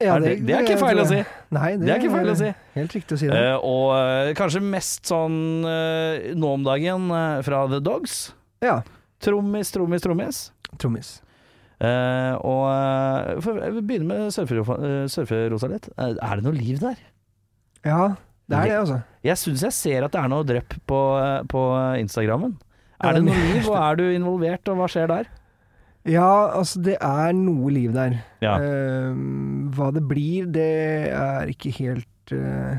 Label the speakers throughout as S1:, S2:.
S1: Ja,
S2: Er det- det er ikke feil å si.
S1: Nei,
S2: Det er ikke feil å si.
S1: Helt riktig å si det.
S2: Eh, og eh, kanskje mest sånn eh, nå om dagen eh, fra The Dogs.
S1: Ja.
S2: Trommis, trommis, trommis.
S1: Trommis.
S2: Eh, og eh, for, Jeg vil begynne med surferofa- eh, surferosa litt. Eh, er det noe liv der?
S1: Ja, det er det, altså.
S2: Jeg syns jeg ser at det er noe drypp på, eh, på Instagrammen.
S1: Ja,
S2: Er det
S1: men-
S2: noe liv, og er du involvert, og hva skjer der?
S1: Ja, altså, det er noe liv der.
S2: Ja.
S1: Eh, hva det blir, det er ikke helt eh,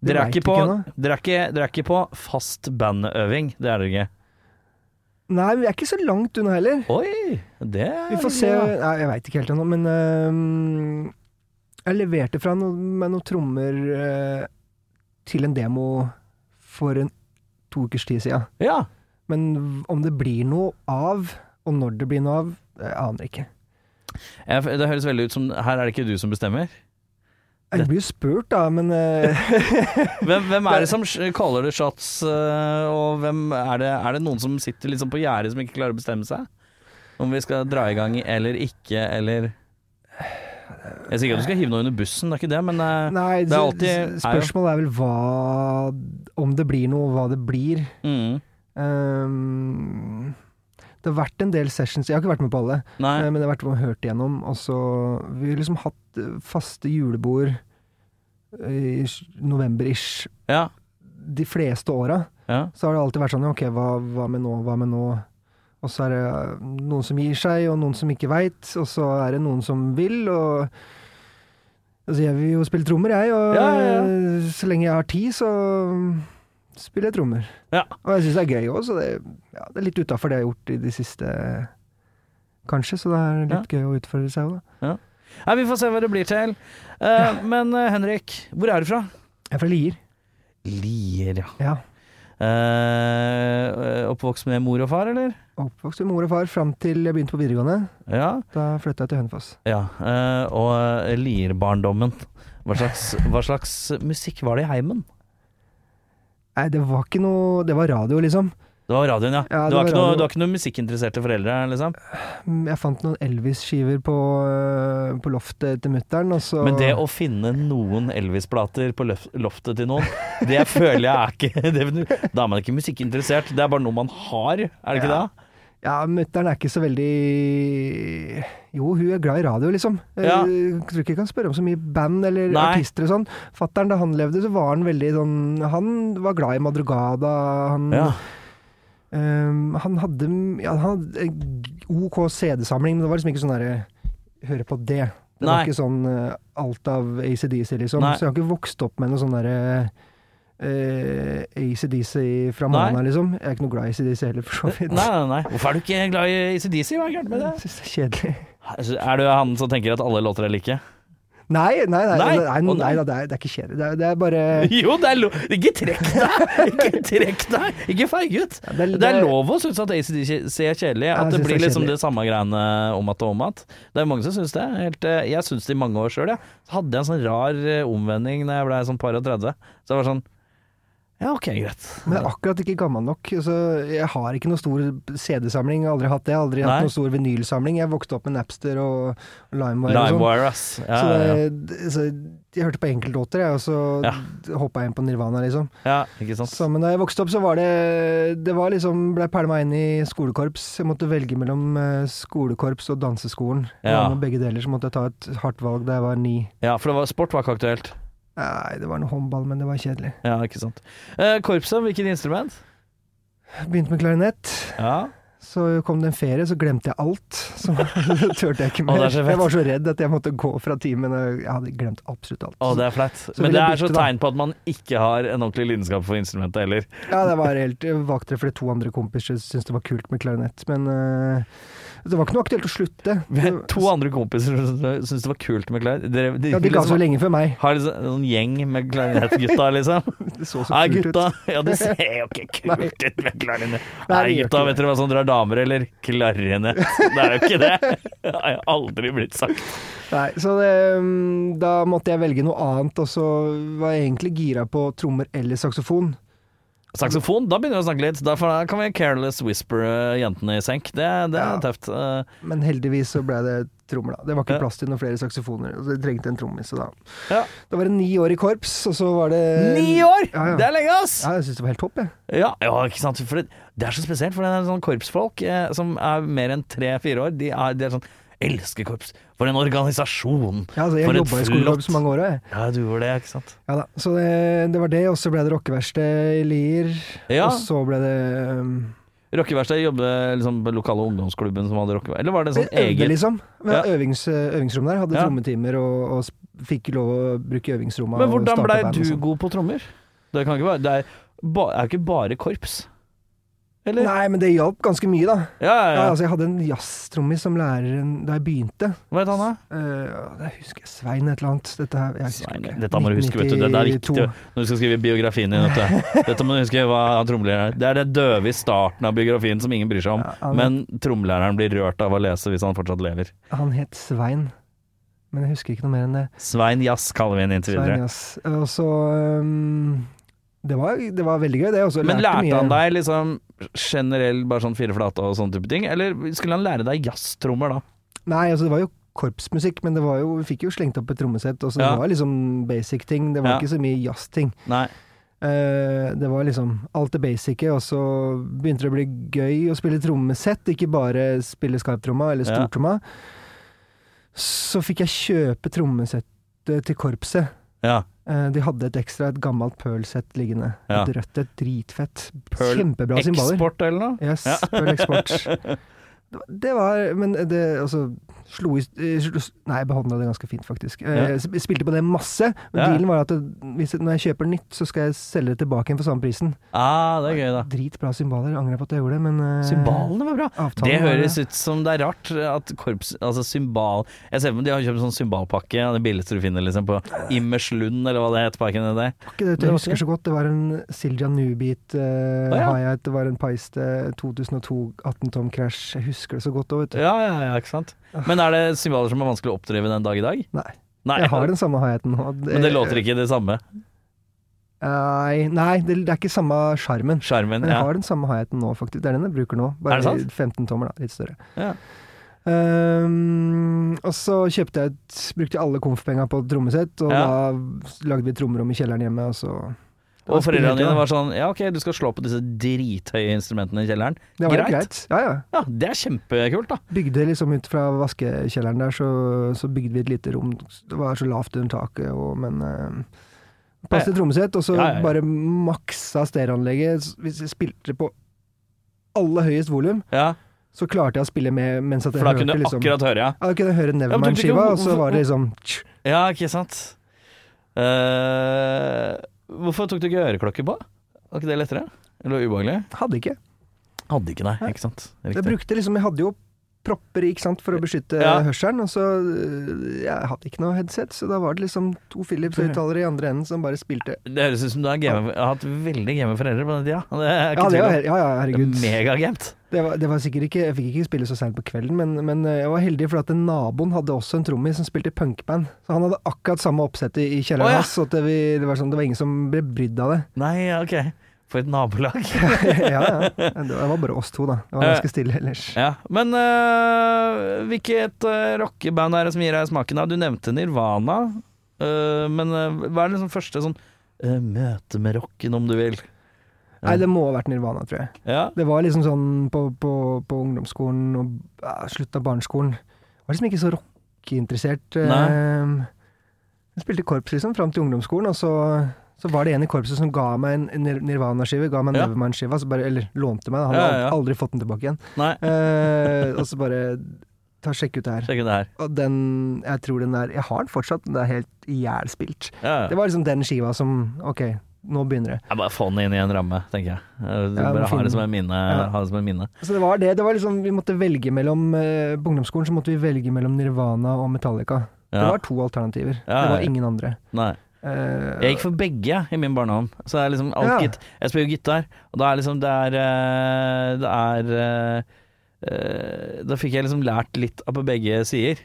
S1: det
S2: Dere er
S1: vet
S2: ikke på,
S1: ennå.
S2: dere er ikke, dere er ikke på fast bandøving, det er dere ikke?
S1: Nei, vi er ikke så langt unna heller.
S2: Oi! Det er
S1: Vi får se Nei, Jeg veit ikke helt ennå, men eh, Jeg leverte fra noe, med noen trommer eh, til en demo for en, to ukers tid siden.
S2: Ja.
S1: Men om det blir noe av, og når det blir noe av, jeg aner ikke.
S2: Jeg, det høres veldig ut som Her er det ikke du som bestemmer.
S1: Jeg blir jo spurt, da, men eh,
S2: Hvem, hvem er det som sh- caller det shots, øh, og hvem er det, er det noen som sitter liksom på gjerdet som ikke klarer å bestemme seg? Om vi skal dra i gang eller ikke, eller Jeg sier ikke at du skal hive noe under bussen, det er ikke det, men øh,
S1: Nei,
S2: Det er alltid-
S1: s- spørsmålet er vel hva Om det blir noe, hva det blir.
S2: mm,
S1: Ehm, det har vært en del sessions, jeg har ikke vært med på alle,
S2: Nei.
S1: eh, men jeg har vært med og hørt igjennom. Og så Vi har liksom hatt eh, faste julebord eh, i s- november-ish
S2: Ja.
S1: de fleste åra.
S2: ja.
S1: så har det alltid vært sånn ok, hva, hva med nå, hva med nå? Og så er det eh, noen som gir seg, og noen som ikke veit, og så er det noen som vil, og Altså, jeg vil jo spille trommer, jeg, og
S2: Ja, ja,
S1: så lenge jeg har tid, så spiller jeg trommer.
S2: Ja.
S1: Og jeg syns det er gøy òg, så det, ja, det er litt utafor det jeg har gjort i det siste, kanskje, så det er litt gøy å utfordre seg òg, da.
S2: Nei, vi får se hva det blir til. Eh, men øh, Henrik, hvor er du fra?
S1: Jeg er fra Lier.
S2: Lier, ja.
S1: Ja.
S2: Eh, oppvokst med mor og far, eller?
S1: Oppvokst med mor og far fram til jeg begynte på videregående.
S2: Ja.
S1: Da flytta jeg til Hønefoss.
S2: Ja, eh, og eh, lierbarndommen. Hva slags, hva slags musikk var det i heimen?
S1: Nei, det var ikke noe Det var radio, liksom.
S2: Det var radioen, ja.
S1: Ja,
S2: du,
S1: det
S2: har
S1: var
S2: ikke noe,
S1: radio.
S2: du har ikke noen musikkinteresserte foreldre, liksom?
S1: Mm, Jeg fant noen Elvis-skiver på, øh, på loftet til mutter'n, og så
S2: Men det å finne noen Elvis-plater på løf- loftet til noen, det føler jeg er ikke det, Da er man ikke musikkinteressert, det er bare noe man har, er det ikke
S1: Ja.
S2: det?
S1: Ja, mutter'n er ikke så veldig Jo, hun er glad i radio, liksom.
S2: Ja.
S1: Jeg tror ikke jeg kan spørre om så mye band eller
S2: Nei.
S1: artister og sånn. Fatter'n, da han levde, så var han veldig sånn Han var glad i Madrugada. Han,
S2: Ja.
S1: øhm, Ehm, han hadde ja, Han hadde en OK CD-samling, men det var liksom ikke sånn derre Høre på det. Det
S2: Nei.
S1: var ikke sånn eh, alt av ACDC, liksom.
S2: Nei.
S1: Så jeg har ikke vokst opp med noe sånn derre eh, ACDC fra
S2: Nei.
S1: Mana, liksom. Jeg er ikke noe glad i ACDC heller, for så vidt.
S2: Nei, nei, nei. Hvorfor er du ikke glad i ACDC? Hva er gærent med det? Altså,
S1: Jeg synes det er kjedelig.
S2: Er du han som tenker at alle låter er like?
S1: Eh. Nei, nei, nei,
S2: Nei?
S1: nei, nei,
S2: Å, nei.
S1: da, det, er, det er ikke kjedelig. Det er, det er bare
S2: Jo, det er lov Ikke trekk deg! Ikke trekk deg! Ikke feig ut!
S1: Ja,
S2: Det er lov å synes at ACDC er kjedelig,
S1: jeg
S2: at det
S1: synes
S2: blir
S1: det er
S2: liksom
S1: kjedelig.
S2: det samme greiene om at og om at. Det er mange som synes det. Helt, eh, jeg synes det i mange år sjøl, jeg. Så hadde jeg en sånn rar eh, omvending da jeg blei sånn par og 30. Så jeg var sånn Ja, ok, greit.
S1: Men jeg er akkurat ikke gammel nok. Så jeg har ikke noe stor CD-samling. Jeg har Aldri hatt det. Jeg har Aldri
S2: Nei.
S1: hatt noe stor vinylsamling. Jeg vokste opp med Napster og LimeWire og sånn.
S2: Limewire, ass. Ja,
S1: Så,
S2: ja, ja.
S1: det, så jeg hørte på enkeltlåter, jeg, og så hoppa jeg inn på Nirvana, liksom.
S2: ja, ikke sant.
S1: Så, men da jeg vokste opp, så var det Det var liksom Blei pælma inn i skolekorps. Jeg måtte velge mellom eh, skolekorps og danseskolen. Jeg
S2: Ja.
S1: var med begge deler, så måtte jeg ta et hardt valg da jeg var ni.
S2: Ja, for det var, sport var ikke aktuelt.
S1: Nei, det var noe håndball, men det var kjedelig.
S2: Ja, ikke sant. Eh, korpset, hvilket instrument?
S1: Begynte med klarinett,
S2: Ja.
S1: Så kom det en ferie, så glemte jeg alt. Så turte jeg ikke
S2: Å,
S1: mer.
S2: det er så fett.
S1: jeg var så redd at jeg måtte gå fra timen. og Jeg hadde glemt absolutt alt.
S2: Å, det er flaut.
S1: vil
S2: Men det
S1: jeg
S2: er så
S1: bytte, da.
S2: tegn på at man ikke har en ordentlig lidenskap for instrumentet heller.
S1: Ja, det var helt jeg valgte det fordi to andre kompiser syntes det var kult med klarinett. Men eh, det var ikke noe aktuelt å slutte.
S2: Vi har
S1: Det-
S2: to andre kompiser som syntes det var kult med klarinett. Dere- De,
S1: ja, De ga seg jo lenge før meg.
S2: har liksom en gjeng med klarinettgutta, liksom.
S1: Det så så
S2: Nei,
S1: kult
S2: gutta.
S1: ut.
S2: Ja, det ser jo ikke kult ut med klarinett. Nei,
S1: Nei, det gjør
S2: gutta,
S1: ikke
S2: vet
S1: det.
S2: dere hva som drar damer, eller? Klarinett. Det er jo ikke det. Det har jeg aldri blitt sagt.
S1: Nei, så det, mm, da måtte jeg velge noe annet, og så var jeg egentlig gira på trommer eller saksofon.
S2: Saksofon, da begynner vi å snakke litt. Da får- da kan vi careless whisper eh, jentene i senk. Det, det er
S1: Ja.
S2: tøft. Eh,
S1: Men heldigvis så ble det trommer, da. Det
S2: Ja.
S1: var ikke plass til noen flere saksofoner, og jeg trengte en trommis. så Da.
S2: Ja.
S1: da var det ni år i korps, og så var det
S2: Ni år!
S1: Eh, Ja, ja.
S2: Det er lenge, ass!
S1: Ja, jeg syns det var helt topp, jeg.
S2: Ja, ja ikke sant? For det, det er så spesielt, for det er sånn korpsfolk eh, som er mer enn tre-fire år. De er, de er sånn Elsker korps! For en organisasjon!
S1: Ja, altså,
S2: For
S1: jeg
S2: et
S1: jobba i skolekorps
S2: flott-
S1: mange år, jeg.
S2: Ja, du gjorde det, ikke sant?
S1: Ja da, så eh, det, det var det, og så ble det rockeverksted i Lier,
S2: Ja.
S1: og så ble det um,
S2: Rockeverkstedet jobbet liksom på lokale ungdomsklubben som hadde rockeverksted. Eller var det en
S1: Vi
S2: sånn
S1: øvde,
S2: egen
S1: liksom. Vi hadde
S2: Ja.
S1: øvings, eh, øvingsrom der. Hadde
S2: Ja.
S1: trommetimer og, og sp- fikk lov å bruke øvingsrommet.
S2: Men
S1: og
S2: hvordan
S1: starte
S2: blei
S1: band og
S2: du
S1: sånn.
S2: god på trommer? Det kan ikke være Det er, ba, er jo ikke bare korps. Eller?
S1: Nei, men det hjalp ganske mye, da.
S2: Ja, ja,
S1: Ja,
S2: ja.
S1: altså, jeg hadde en jazztrommis som lærer en- da jeg begynte.
S2: Hva het han, da?
S1: Eh, det husker jeg Svein et eller annet. Dette, her, jeg husker
S2: Svein,
S1: ikke.
S2: dette må du huske, vet du. Det er viktig
S1: 1992.
S2: når du skal skrive biografien din. Vet du. Dette må du huske hva han trommelæreren er. Det er det døve i starten av biografien som ingen bryr seg om.
S1: Ja, han,
S2: Men trommelæreren blir rørt av å lese hvis han fortsatt lever.
S1: han het Svein, men jeg husker ikke noe mer enn det.
S2: Svein Jazz kaller vi ham inntil
S1: Svein,
S2: videre.
S1: yes. Og så um, det, var, det var veldig gøy, det. Også,
S2: Men lærte
S1: lærte mye.
S2: han deg liksom generell bare sånn fire flate og sånne type ting, eller skulle han lære deg jazztrommer da?
S1: Nei, altså det var jo korpsmusikk, men det var jo, vi fikk jo slengt opp et trommesett. Og så
S2: Ja.
S1: Det var liksom basic ting. Det var
S2: Ja.
S1: ikke så mye jazz-ting.
S2: Nei.
S1: Eh, det var liksom alt det basice, og så begynte det å bli gøy å spille trommesett, ikke bare spille skarptromma eller
S2: Ja.
S1: stortromma. Så fikk jeg kjøpe trommesettet til korpset.
S2: Ja.
S1: Eh, De hadde et ekstra, et gammelt Pearl-sett liggende.
S2: Ja.
S1: Et rødt, et dritfett.
S2: Pearl
S1: Kjempebra cymbaler.
S2: Eksport eller noe?
S1: Yes,
S2: Ja.
S1: Pearl Export. Det var- Det var Men det altså Slo i eh, slo, Nei, jeg behandla det ganske fint, faktisk. Eh,
S2: Ja.
S1: Jeg sp- spilte på det masse, men
S2: Ja.
S1: dealen var at det, hvis, når jeg kjøper nytt, så skal jeg selge det tilbake igjen for samme prisen.
S2: Ah, det er gøy da.
S1: Dritbra cymbaler. Angrer på at jeg gjorde det, men eh,
S2: Symbalene var bra.
S1: avtalen
S2: Det
S1: var-
S2: høres ut som det er rart at korps Altså symbal Jeg ser for meg de har kjøpt sånn symbalpakke, ja, det billigste du finner, liksom, på Immerslund, eller hva det heter, parken der.
S1: var ikke det,
S2: det
S1: Jeg
S2: var
S1: husker
S2: ikke
S1: så godt. Det var en Silja Nubit uh,
S2: Å, ja.
S1: Hi-Hat, det var en Paiste eh, 2002 18 tom Crash. Jeg husker det så godt òg, vet du.
S2: Ja, ja, ja, ikke sant. Men er det symbaler som er vanskelig å oppdrive den dag i dag?
S1: Nei.
S2: Nei,
S1: Jeg har den samme Hi-Haten nå.
S2: Men det låter ikke det samme.
S1: Nei, nei det, det er ikke samme sjarmen.
S2: Skjermen,
S1: Men jeg
S2: ja.
S1: har den samme hi-haten nå, faktisk. Det er den jeg bruker nå.
S2: Er
S1: Bare
S2: det sant?
S1: 15 tommer, da. Litt større.
S2: Ja.
S1: Ehm, og så kjøpte jeg et, brukte jeg alle konfpenga på et trommesett, og
S2: Ja.
S1: da lagde vi et trommerom i kjelleren hjemme, og så
S2: Og foreldrene dine var sånn Ja, ok, du skal slå på disse drithøye instrumentene i kjelleren.
S1: Det var
S2: greit.
S1: greit. greit. Ja, ja.
S2: Ja, det er kjempekult, da.
S1: Bygde liksom ut fra vaskekjelleren der, så, så bygde vi et lite rom. Det var så lavt under taket, og, men uh, Pass til trommesett, og så
S2: Ja, ja, ja.
S1: bare maksa stereoanlegget. Hvis jeg spilte på aller høyest volum,
S2: Ja,
S1: så klarte jeg å spille med mens at jeg
S2: For da
S1: hørte
S2: kunne du
S1: liksom
S2: akkurat høre, ja.
S1: Ja, da kunne jeg høre
S2: Ja, men tok du ikke
S1: Nevermind-skiva,
S2: ho-
S1: og så var det liksom
S2: Ja, ikke sant. Eh, hvorfor tok du ikke øreklokke på? Var ikke det lettere? Eller ubehagelig?
S1: Hadde ikke.
S2: Hadde ikke, nei. Ikke sant.
S1: Jeg brukte liksom, jeg hadde jo propper ikke sant, for å beskytte
S2: Ja.
S1: hørselen, og så øh, Jeg hadde ikke noe headset, så da var det liksom to Philips-høyttalere i andre enden som bare spilte.
S2: Det høres ut som du har, game, har hatt veldig game foreldre på den tida. Det er
S1: Ja,
S2: ikke
S1: det var,
S2: tvil om.
S1: her- ja, ja, herregud.
S2: Det er Megagamt.
S1: Det var, det var sikkert ikke Jeg fikk ikke spille så seint på kvelden, men, men øh, jeg var heldig for at naboen hadde også en trommis som spilte i punkband. Så han hadde akkurat samme oppsett i i
S2: Å,
S1: kjelleren
S2: ja.
S1: hans, så at det, vi, det, var sånn, det var ingen som ble brydd av det.
S2: Nei, ja, ok. For et nabolag.
S1: ja, ja. Det var bare oss to, da. Det var
S2: Ja.
S1: ganske stille ellers.
S2: ja. Men øh, hvilket øh, rockeband er det som gir deg smaken? av? Du nevnte Nirvana, øh, men øh, hva er det liksom første sånn øh, møte med rocken, om du vil?
S1: Nei, det må ha vært Nirvana, tror jeg.
S2: Ja.
S1: Det var liksom sånn på, på, på ungdomsskolen og ja, slutten av barneskolen. Jeg var liksom ikke så ehm, rockeinteressert. eh, Jeg spilte korps liksom fram til ungdomsskolen, og så Så var det en i korpset som ga meg en Nir- Nirvana-skive, ga meg en
S2: Ja.
S1: Nevermind-skive, altså bare- eller lånte meg, da. han har
S2: Ja, ja, ja.
S1: aldri, aldri fått den tilbake igjen.
S2: Nei,
S1: Eh, og så bare ta sjekk ut det her.
S2: sjekk ut det her.
S1: Og den, jeg tror den er Jeg har den fortsatt, den er helt ihjelspilt.
S2: Ja,
S1: Det
S2: ja.
S1: var liksom den skiva som Ok, nå begynner det.
S2: Jeg bare få den inn i en ramme, tenker jeg. jeg
S1: Ja,
S2: bare
S1: må
S2: ha
S1: finne
S2: det som en minne.
S1: Ja.
S2: Ha det som en minne.
S1: Så det var det. det var liksom, vi måtte velge mellom eh, På ungdomsskolen så måtte vi velge mellom Nirvana og Metallica. Det
S2: Ja.
S1: var to alternativer.
S2: Ja, ja,
S1: Det var
S2: ja.
S1: ingen andre.
S2: Nei.
S1: Eh,
S2: Jeg gikk for begge jeg, i min barndom. Så det er liksom alt
S1: Ja.
S2: gitt. Jeg spiller jo gitar, og da er liksom det er eh, Det er eh, eh, Da fikk jeg liksom lært litt av på begge sider.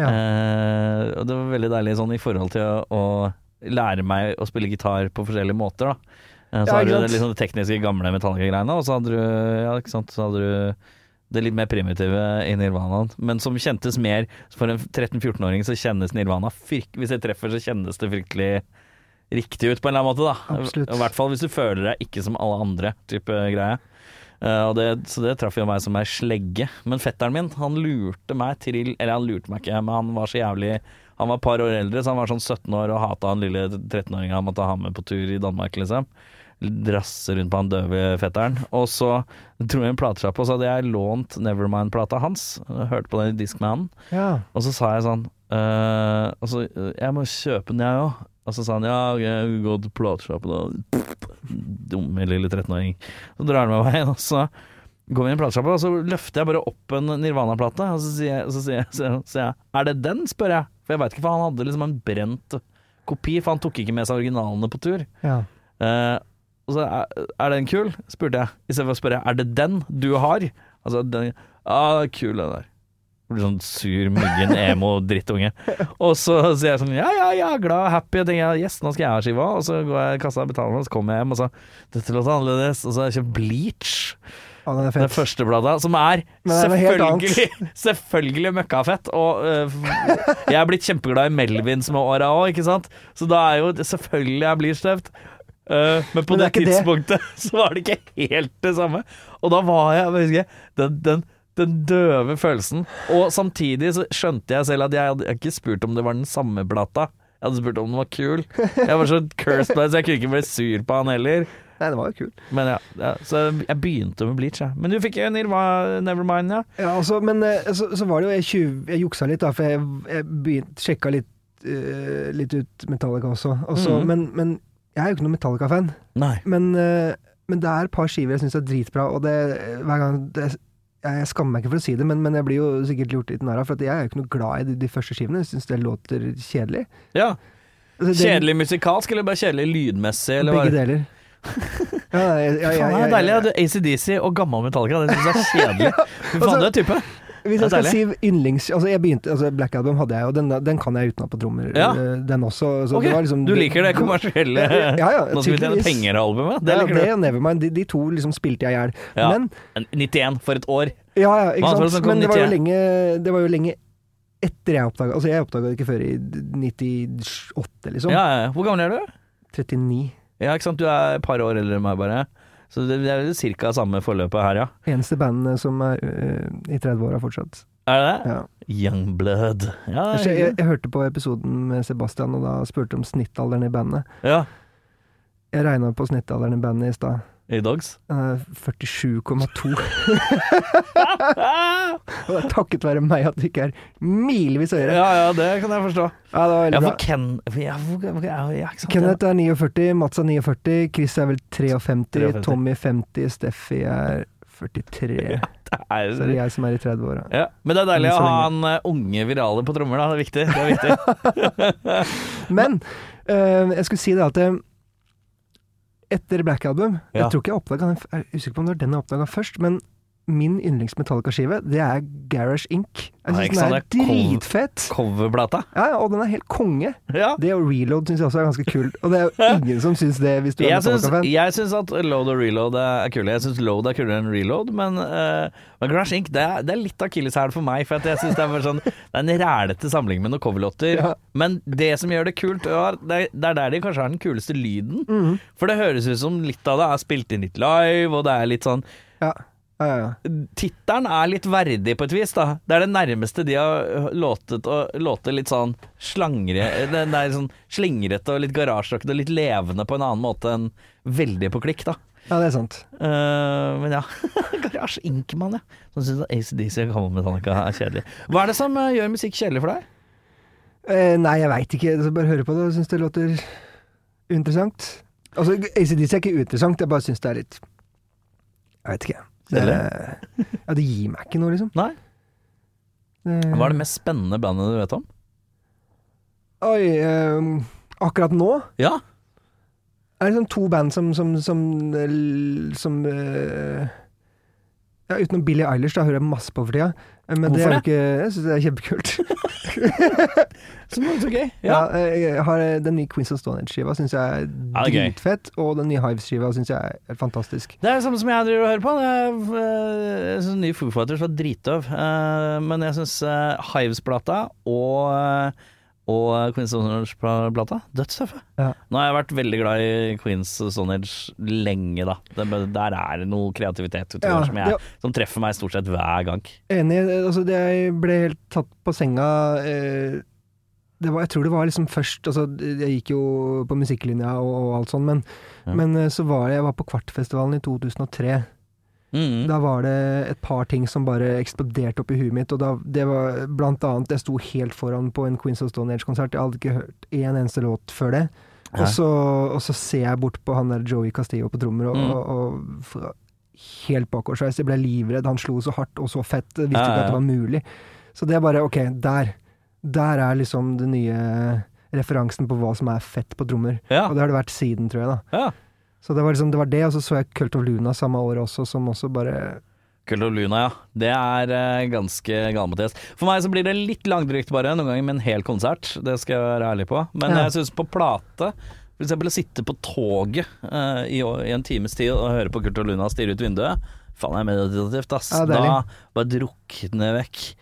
S1: Ja.
S2: Eh, og det var veldig deilig sånn i forhold til å, å lære meg å spille gitar på forskjellige måter, da. Eh, så
S1: Ja,
S2: har du
S1: ikke
S2: det
S1: sant?
S2: litt sånn tekniske, gamle Metallica-greiene, og så hadde du Ja, ikke sant. Så hadde du det litt mer primitive i Nirvanaen, men som kjentes mer For en 13-14-åring så kjennes Nirvana frykt, Hvis jeg treffer, så kjennes det fryktelig riktig ut på en eller annen måte, da.
S1: Absolutt.
S2: I hvert fall hvis du føler deg ikke som alle andre, type greie. Eh, og det, så det traff jo meg som ei slegge. Men fetteren min, han lurte meg til Eller han lurte meg ikke, men han var så jævlig Han var et par år eldre, så han var sånn 17 år og hata han lille 13-åringen han måtte ha med på tur i Danmark, liksom. Drasse rundt på han døve fetteren. Og så dro jeg en platesjappe, og så hadde jeg lånt Nevermind-plata hans. Hørte på den i Discmanen.
S1: ja.
S2: Og så sa jeg sånn «Øh, altså, øh, Jeg må kjøpe den jeg òg. Og så sa han ja, jeg gå til platesjappen da. Dumme lille 13-åring. Så drar han meg veien, og så går vi inn i platesjappa, og så løfter jeg bare opp en Nirvana-plate. Og så sier jeg, så sier jeg, så sier jeg, så sier jeg er det den, spør jeg. For jeg veit ikke, for han hadde liksom en brent kopi, for han tok ikke med seg originalene på tur.
S1: ja.
S2: Eh, og så er, er den kul? spurte jeg. I stedet for å spørre er det den du har. Altså, den, ja, ah, kul den der. Blir sånn sur, myggen, emo, drittunge. Og så sier jeg sånn ja, ja, ja, glad, happy. Og tenker jeg yes, nå skal jeg ha skiva. Og så går jeg i kassa og betaler, og så kommer jeg hjem og så dette låter annerledes. Og så har jeg kjøpt Bleach,
S1: Å, den er
S2: den
S1: fet.
S2: første plata, som er
S1: Men det er noe helt
S2: selvfølgelig, selvfølgelig møkkafett. Og eh, f- jeg er blitt kjempeglad i Melvins med åra òg, ikke sant. Så da er jo selvfølgelig er Bleach tøft. Eh, men på
S1: Men
S2: det,
S1: det er ikke det.
S2: tidspunktet så var det ikke helt det samme. Og da var jeg, jeg husker, den, den, den døve følelsen. Og samtidig så skjønte jeg selv at jeg hadde jeg hadde ikke spurt om det var den samme plata. Jeg hadde spurt om den var kul. Jeg var så cursed by det, så jeg kunne ikke bli sur på han heller.
S1: Nei, det var jo kult.
S2: Men ja, ja Så jeg begynte med Bleach, jeg. Men du fikk jo Nirva Nevermind, ja.
S1: Ja, altså, men eh, så, så var det jo Jeg, tjuv, jeg juksa litt, da, for jeg, jeg begynte, sjekka litt, eh, litt ut Metallica også. Og så-
S2: Mhm.
S1: men, men jeg er jo ikke noen Metallica-fan.
S2: Nei.
S1: Men, eh, men det er et par skiver jeg syns er dritbra, og det hver gang det, jeg, jeg skammer meg ikke for å si det, men, men jeg blir jo sikkert gjort litt narr av, for at jeg er jo ikke noe glad i de, de første skivene. Jeg syns det låter kjedelig.
S2: Ja.
S1: Altså, det-
S2: Kjedelig musikalsk, eller bare kjedelig lydmessig, eller
S1: Begge
S2: hva?
S1: deler. Ja, nei, jeg- jeg-
S2: Faen, det
S1: jeg-
S2: er deilig. ja. Du, ACDC og gammel Metallica, det syns jeg er kjedelig. Fy
S1: og så-
S2: faen, du er type. Det er
S1: Hvis jeg skal
S2: deilig.
S1: si yndlings altså jeg begynte, altså Black Album hadde jeg, og den, den kan jeg utenat på trommer,
S2: Ja.
S1: øh, den også. Så
S2: Ok,
S1: det var liksom,
S2: du liker det kommersielle
S1: Ja, ja,
S2: Nå skal vi tjene
S1: tydeligvis.
S2: penger-albumet. Det
S1: Ja,
S2: liker
S1: det og Nevermind. De, de to liksom spilte jeg i hjel.
S2: Ja.
S1: Men
S2: du. 91 for et år.
S1: Ja, ja, ikke
S2: Hva var det
S1: sant.
S2: som kom
S1: Men det var, jo
S2: 91?
S1: lenge, det var jo lenge etter jeg oppdaga Altså, jeg oppdaga det ikke før i 98, liksom.
S2: Ja, ja. Hvor gammel er du?
S1: 39.
S2: Ja, ikke sant. Du er et par år eldre enn meg, bare. Så det det er jo ca. samme forløpet her, ja.
S1: Eneste bandet som er øh, i 30-åra fortsatt.
S2: Er det det?
S1: Ja.
S2: Youngblood. Ja,
S1: Jeg,
S2: det er
S1: jeg,
S2: hyggelig.
S1: jeg hørte på episoden med Sebastian, og da spurte om snittalderen i bandet.
S2: ja.
S1: Jeg regna på snittalderen i bandet i stad.
S2: I Dogs.
S1: Den er 47,2. Og det er takket være meg at det ikke er milevis
S2: Ja,
S1: høyere.
S2: ja, det kan jeg forstå.
S1: Ja, det
S2: Ja,
S1: var veldig
S2: for
S1: bra.
S2: Ken ja, for, ja, ja, ikke sant?
S1: Kenneth er 49, Mats er 49, Chris er vel 53,
S2: 53.
S1: Tommy 50, Steffi er 43.
S2: Er
S1: Så det er jeg som er i 30-åra.
S2: ja. Men det er deilig
S1: Men
S2: å
S1: så
S2: ha
S1: lenge.
S2: han eh, unge virale på trommer, da. Det er viktig. Det er viktig.
S1: Men øh, jeg skulle si det at øh, etter Black Album
S2: Ja.
S1: Jeg tror ikke jeg oppdaga den f- Jeg er usikker på om det var den jeg oppdaga først, men min yndlings-Metallica-skive, det er Garage Inc. Jeg
S2: Nei, ikke
S1: syns den er
S2: sant, det er cool.
S1: dritfett!
S2: Coverplata.
S1: Ja, ja, og den er helt konge.
S2: Ja.
S1: Det og reload syns jeg også er ganske kult. Og det er jo ingen som syns det, hvis du er
S2: Jeg syns,
S1: Metallica-fan.
S2: jeg syns at load og reload er kule. Jeg syns load er kulere enn reload, men, uh, men Grash Inc. Det er, det er litt akilleshæl for meg. For at jeg synes det, er bare sånn, det er en rælete samling med noen coverlåter.
S1: Ja.
S2: Men det som gjør det kult, er, det er- det er der de kanskje har den kuleste
S1: Mhm.
S2: lyden. For det høres ut som litt av det er spilt inn litt live, og det er litt sånn
S1: Ja. Ja, ja, ja.
S2: Tittelen er litt verdig på et vis, da. Det er det nærmeste de har øh, låtet å låte litt sånn slangre Det det er sånn slingrete og litt garasjerockete og litt levende på en annen måte enn veldig på klikk, da.
S1: ja, det er sant.
S2: Eh, men ja. Garasje Inkemann, ja. Som syns ACDC og Common Metallica er kjedelig. Hva er det som eh, gjør musikk kjedelig for deg?
S1: Eh, nei, jeg veit ikke. Så bare høre på det. Jeg syns det låter interessant. Altså, ACDC er ikke uinteressant, jeg bare syns det er litt Jeg veit ikke. Det, ja, det gir meg ikke noe, liksom. Eh,
S2: Nei.
S1: Det-
S2: Hva er det mest spennende bandet du vet om?
S1: Oi, eh, akkurat nå
S2: Ja.
S1: er det sånn to band som Som, som, eh, som eh, ja, Utenom Billie Eilish, da hører jeg masse på for tida. Eh, Men det
S2: Hvorfor
S1: er jo ikke Jeg syns det er kjempekult.
S2: Så gøy.
S1: Ja. eh, jeg har, eh, den nye Queens of Stone Age-skiva syns jeg er
S2: Ja, det er gøy.
S1: dritfett, og den nye Hives-skiva syns jeg er fantastisk.
S2: Det er det samme som jeg driver og hører på. Det er, øh, Jeg syns nye Foo Fighters var dritdøv. Eh, Men jeg syns Hives-plata og, eh, og Queens of Stone Age-plata dødstøffe.
S1: Ja.
S2: Nå har jeg vært veldig glad i Queens of Stone Age lenge, da. Det- Der er det noe kreativitet utover
S1: Ja,
S2: som, jeg,
S1: ja.
S2: som treffer meg stort sett hver gang.
S1: Enig. eh, Altså, det jeg ble helt tatt på senga eh, det var, Jeg tror det var liksom først altså, Jeg gikk jo på musikklinja og, og alt sånn, men,
S2: Ja.
S1: men eh, så var jeg, jeg var på Kvartfestivalen i 2003.
S2: Mm.
S1: Da var det et par ting som bare eksploderte opp i huet mitt, og da, det var blant annet Jeg sto helt foran på en Queens of Stone Age-konsert, jeg hadde ikke hørt én eneste låt før det.
S2: Hæ?
S1: Og så, og så ser jeg bort på han der Joey Castillo på trommer, og,
S2: Mm.
S1: og, og fra- helt bakoversveis. Jeg ble livredd. Han slo så hardt og så fett. Jeg Visste
S2: Ja, ja,
S1: ikke at
S2: ja.
S1: det var mulig. Så det er bare OK, der. Der er liksom den nye referansen på hva som er fett på trommer.
S2: Ja.
S1: Og det har det vært siden, tror jeg. da
S2: ja.
S1: Så det var liksom, det var det, og så så jeg Cult of Luna samme år også, som også bare
S2: Kult og Luna, ja. Det er eh, ganske galt, Mathias. For meg så blir det litt langdrygt bare, noen ganger med en hel konsert. Det skal jeg være ærlig på. Men
S1: Ja.
S2: jeg syns på plate for eksempel å sitte på toget eh, i, i en times tid og høre på Kurt og Luna stirre ut vinduet. Faen, det er meditativt, ass.
S1: Ja,
S2: da
S1: deilig.
S2: bare drukne vekk.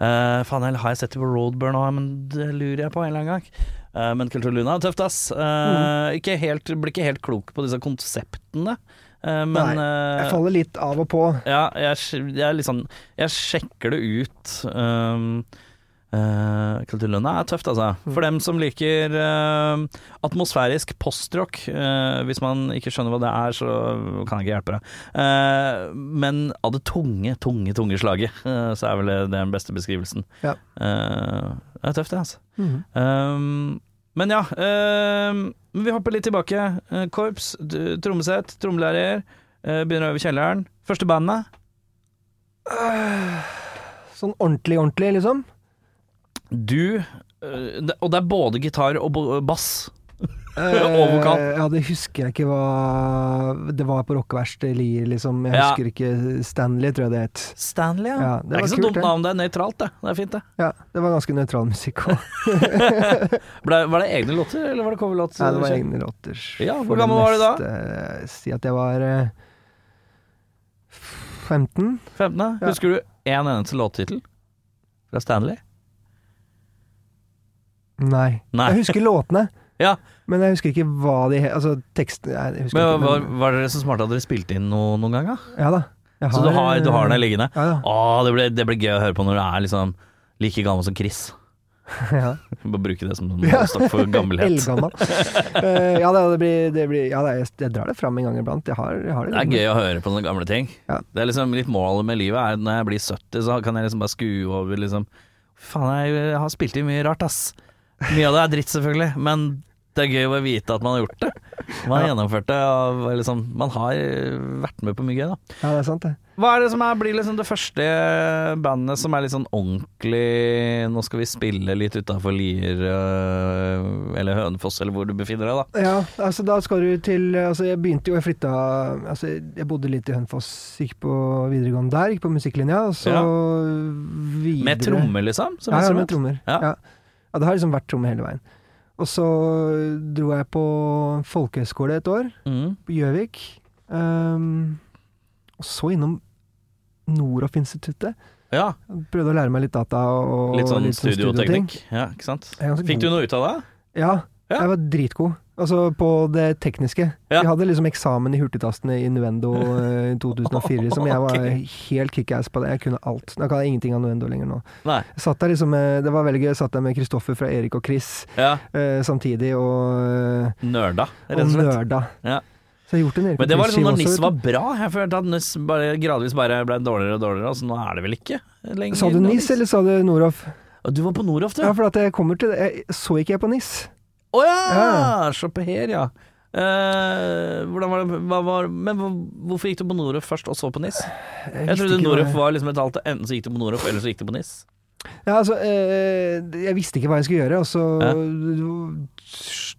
S2: Eh, faen, eller har jeg sett det på Roadburn òg, men det lurer jeg på en eller annen gang. Eh, men Kurt og Luna er tøft, ass. Eh,
S1: Mm.
S2: ikke helt, blir ikke helt klok på disse konseptene, eh, men eh,
S1: Jeg faller litt av og på.
S2: ja, jeg, sj- jeg, er litt sånn- jeg sjekker det ut. Um, uh, Kulturlønna er tøft, altså. For dem som liker um, atmosfærisk postrock. Uh, hvis man ikke skjønner hva det er, så kan jeg ikke hjelpe deg. Uh, men av det tunge, tunge, tunge slaget, uh, så er vel det den beste beskrivelsen.
S1: Ja.
S2: Uh, det er tøft, det, altså.
S1: Øh,
S2: Um, men ja, um, vi hopper litt tilbake. Uh, korps, d- trommesett, trommelærer. Uh, begynner å øve i kjelleren. Første bandet.
S1: Sånn ordentlig, ordentlig, liksom.
S2: Du uh, det- Og det er både gitar og bo- bass.
S1: Eh,
S2: vokal.
S1: Ja, det husker jeg ikke hva Det var på rockeverkstedet i Lier, liksom. Jeg
S2: Ja.
S1: husker ikke Stanley, tror jeg det het.
S2: Stanley, ja.
S1: Ja,
S2: det,
S1: det
S2: er
S1: var
S2: ikke så
S1: kult,
S2: dumt
S1: det.
S2: navn, det er nøytralt, det. Det er fint, det.
S1: Ja, det var ganske nøytral musikk òg.
S2: Ble, var det egne låter, eller var det coverlåt?
S1: Ja, det var egne låter.
S2: Ja, hvor gammel var du da?
S1: da? Si at jeg var eh, 15.
S2: 15.
S1: Ja.
S2: Husker du én eneste låttittel fra Stanley?
S1: Nei.
S2: Nei.
S1: Jeg husker låtene,
S2: Ja,
S1: men jeg husker ikke hva de het. Altså teksten Nei, jeg husker
S2: men
S1: ikke.
S2: var, var dere så smarte at dere spilte inn noe noen gang, da?
S1: Ja da. Jeg eh,
S2: Så du har, du har den liggende?
S1: Ja da.
S2: Å, det blir, det blir gøy å høre på når du er liksom like gammel som Chris.
S1: Ja.
S2: Bare bruke det som en målestokk for gammelhet.
S1: Eldgammel. Eh, ja, da, det blir, det blir Ja, da, jeg, jeg drar det fram en gang iblant. Jeg har, jeg har det.
S2: Det er gøy å høre på sånne gamle ting.
S1: Ja.
S2: Det er liksom litt målet med livet er at når jeg blir 70, så kan jeg liksom bare skue over liksom Faen, jeg har spilt inn mye rart, ass. Mye av det er dritt, selvfølgelig, men det er gøy å bare vite at man har gjort det. Man har gjennomført det, og liksom Man har vært med på mye gøy, da.
S1: Ja, det er sant, det.
S2: Hva er det som er, blir liksom det første bandet som er litt sånn ordentlig Nå skal vi spille litt utafor Lier øh, eller Hønefoss, eller hvor du befinner deg, da.
S1: Ja, altså da skal du til Altså jeg begynte jo, jeg flytta Altså jeg bodde litt i Hønefoss, gikk på videregående der, gikk på musikklinja, og så
S2: Ja.
S1: videre
S2: Med trommer, liksom? Som
S1: Ja, ja, med
S2: instrument?
S1: trommer.
S2: Ja.
S1: Ja. Ja. det har liksom vært trommer hele veien. Og så dro jeg på folkehøyskole et år,
S2: Mm.
S1: på Gjøvik. Ehm, og så innom Noroff-instituttet.
S2: ja.
S1: Prøvde å lære meg litt data og
S2: Litt sånn
S1: og ting.
S2: studioteknikk. Ja, ikke sant?
S1: Jeg er ganske
S2: Fikk du
S1: god.
S2: noe ut av det?
S1: Ja,
S2: Ja.
S1: jeg var dritgod. Altså på det tekniske.
S2: Ja.
S1: Vi hadde liksom eksamen i hurtigtastene i Nuendo eh, i 2004, som jeg var helt kickass på det. Jeg kunne alt. Jeg kan ingenting av Nuendo lenger nå.
S2: Nei.
S1: Jeg Satt der liksom, eh, det var veldig gøy. Jeg satt der med Kristoffer fra Erik og Chris
S2: Ja.
S1: eh, samtidig, og, eh,
S2: Nerda, rett og
S1: og
S2: slett.
S1: nerda.
S2: Ja.
S1: Så jeg har gjort en Erik
S2: Men det
S1: og
S2: var liksom når
S1: Chris-skive også,
S2: NIS
S1: vet
S2: var
S1: du.
S2: bra. Jeg følte at NIS bare, gradvis bare ble dårligere og dårligere, og så nå er det vel ikke lenger
S1: Sa du NIS, eller sa du Noroff?
S2: Du var på Noroff, du.
S1: Ja, for at jeg kommer til det. Jeg, så ikke jeg på NIS.
S2: Å ja! Se på her, ja. Eh, hvordan var det hva var, Men hva- hvorfor gikk du på Noroff først, og så på NIS? Jeg
S1: visste
S2: trodde
S1: ikke hva-
S2: Noroff var liksom et alt Enten så gikk du på Noroff, eller så gikk du på NIS.
S1: Ja, altså, eh, jeg visste ikke hva jeg skulle gjøre, og så
S2: Ja.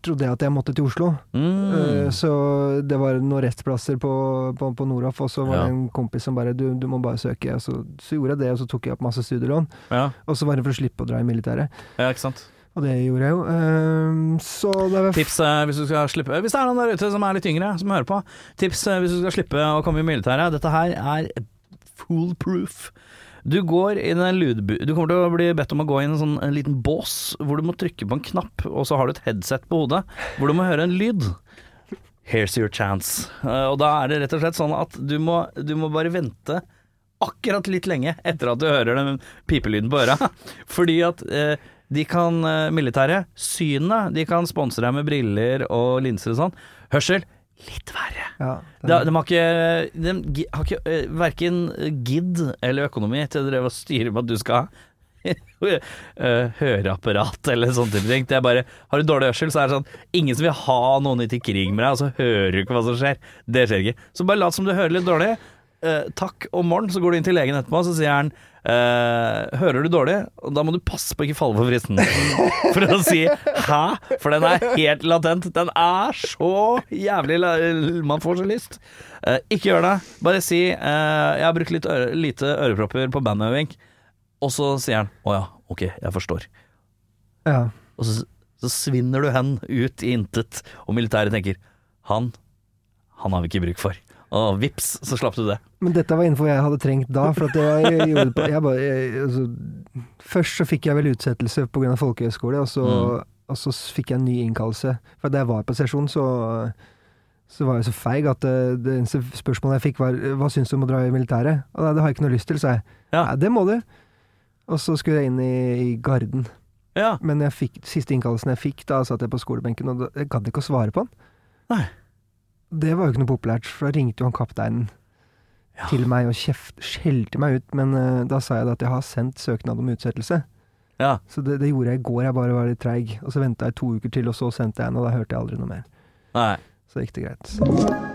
S1: trodde jeg at jeg måtte til Oslo. Eh,
S2: Mm.
S1: så det var noen restplasser på, på, på Noraf, og så var
S2: Ja.
S1: det en kompis som bare du, du må bare søke. Og så, så gjorde jeg det, og så tok jeg opp masse studielån.
S2: Ja.
S1: Og så var det for å slippe å dra i militæret.
S2: ja, ikke sant.
S1: Og det gjorde jeg jo. Eh, så da var jeg f-
S2: Tips eh, hvis du skal slippe Hvis det er noen der ute som er litt yngre, som hører på. Tips eh, hvis du skal slippe å komme i militæret. Dette her er foolproof. Du går inn i en lydbu... Du kommer til å bli bedt om å gå inn i en sånn en liten bås hvor du må trykke på en knapp, og så har du et headset på hodet hvor du må høre en lyd. Here's your chance. Eh, og da er det rett og slett sånn at du må, du må bare vente akkurat litt lenge etter at du hører den pipelyden på øra. Fordi at eh, de kan eh, Militæret, synet, de kan sponse deg med briller og linser og sånn. Hørsel, litt verre.
S1: ja, det-
S2: De, de har ikke, de gi- har ikke eh, verken gidd eller økonomi til å drive og styre med at du skal ha eh, høreapparat eller sånne type ting. Det er bare Har du dårlig hørsel, så er det sånn Ingen som vil ha noen ut i krig med deg, og så hører du ikke hva som skjer. Det skjer ikke. Så bare lat som du hører litt dårlig. Eh, takk om morgenen, så går du inn til legen etterpå, så sier han eh, Hører du dårlig? Og da må du passe på å ikke falle for fristen. For å si 'hæ?' For den er helt latent. Den er så jævlig la Man får så lyst. Eh, ikke gjør det. Bare si eh, 'jeg har brukt litt øre lite ørepropper på bandøving', og så sier han 'å ja, ok, jeg forstår'.
S1: ja.
S2: Og så, så svinner du hen ut i intet, og militæret tenker 'han, han har vi ikke bruk for'. Og vips, så slapp du det.
S1: Men dette var info jeg hadde trengt da. For at jeg, gjorde på, jeg bare, jeg, altså, først så fikk jeg vel utsettelse pga. folkehøyskole, og så, og så s- fikk jeg en ny innkallelse. For da jeg var på sesjon, så, så var jeg så feig at det, det eneste spørsmålet jeg fikk, var hva syns du om å dra i militæret? Og nei, det har jeg ikke noe lyst til, sa jeg.
S2: Ja.
S1: Nei, det må du. Og så skulle jeg inn i, i Garden.
S2: Ja.
S1: Men jeg fikk, siste innkallelsen jeg fikk, da satt jeg på skolebenken, og da, jeg gadd ikke å svare på den.
S2: Nei.
S1: Det var jo ikke noe populært, for da ringte jo han kapteinen til meg og kjeft, skjelte meg ut, men eh, da sa jeg da at jeg har sendt søknad om utsettelse.
S2: Ja.
S1: Så det, det gjorde jeg i går, jeg bare var litt treig. Og så venta jeg to uker til, og så sendte jeg en, og da hørte jeg aldri noe mer.
S2: Nei.
S1: Så gikk det greit.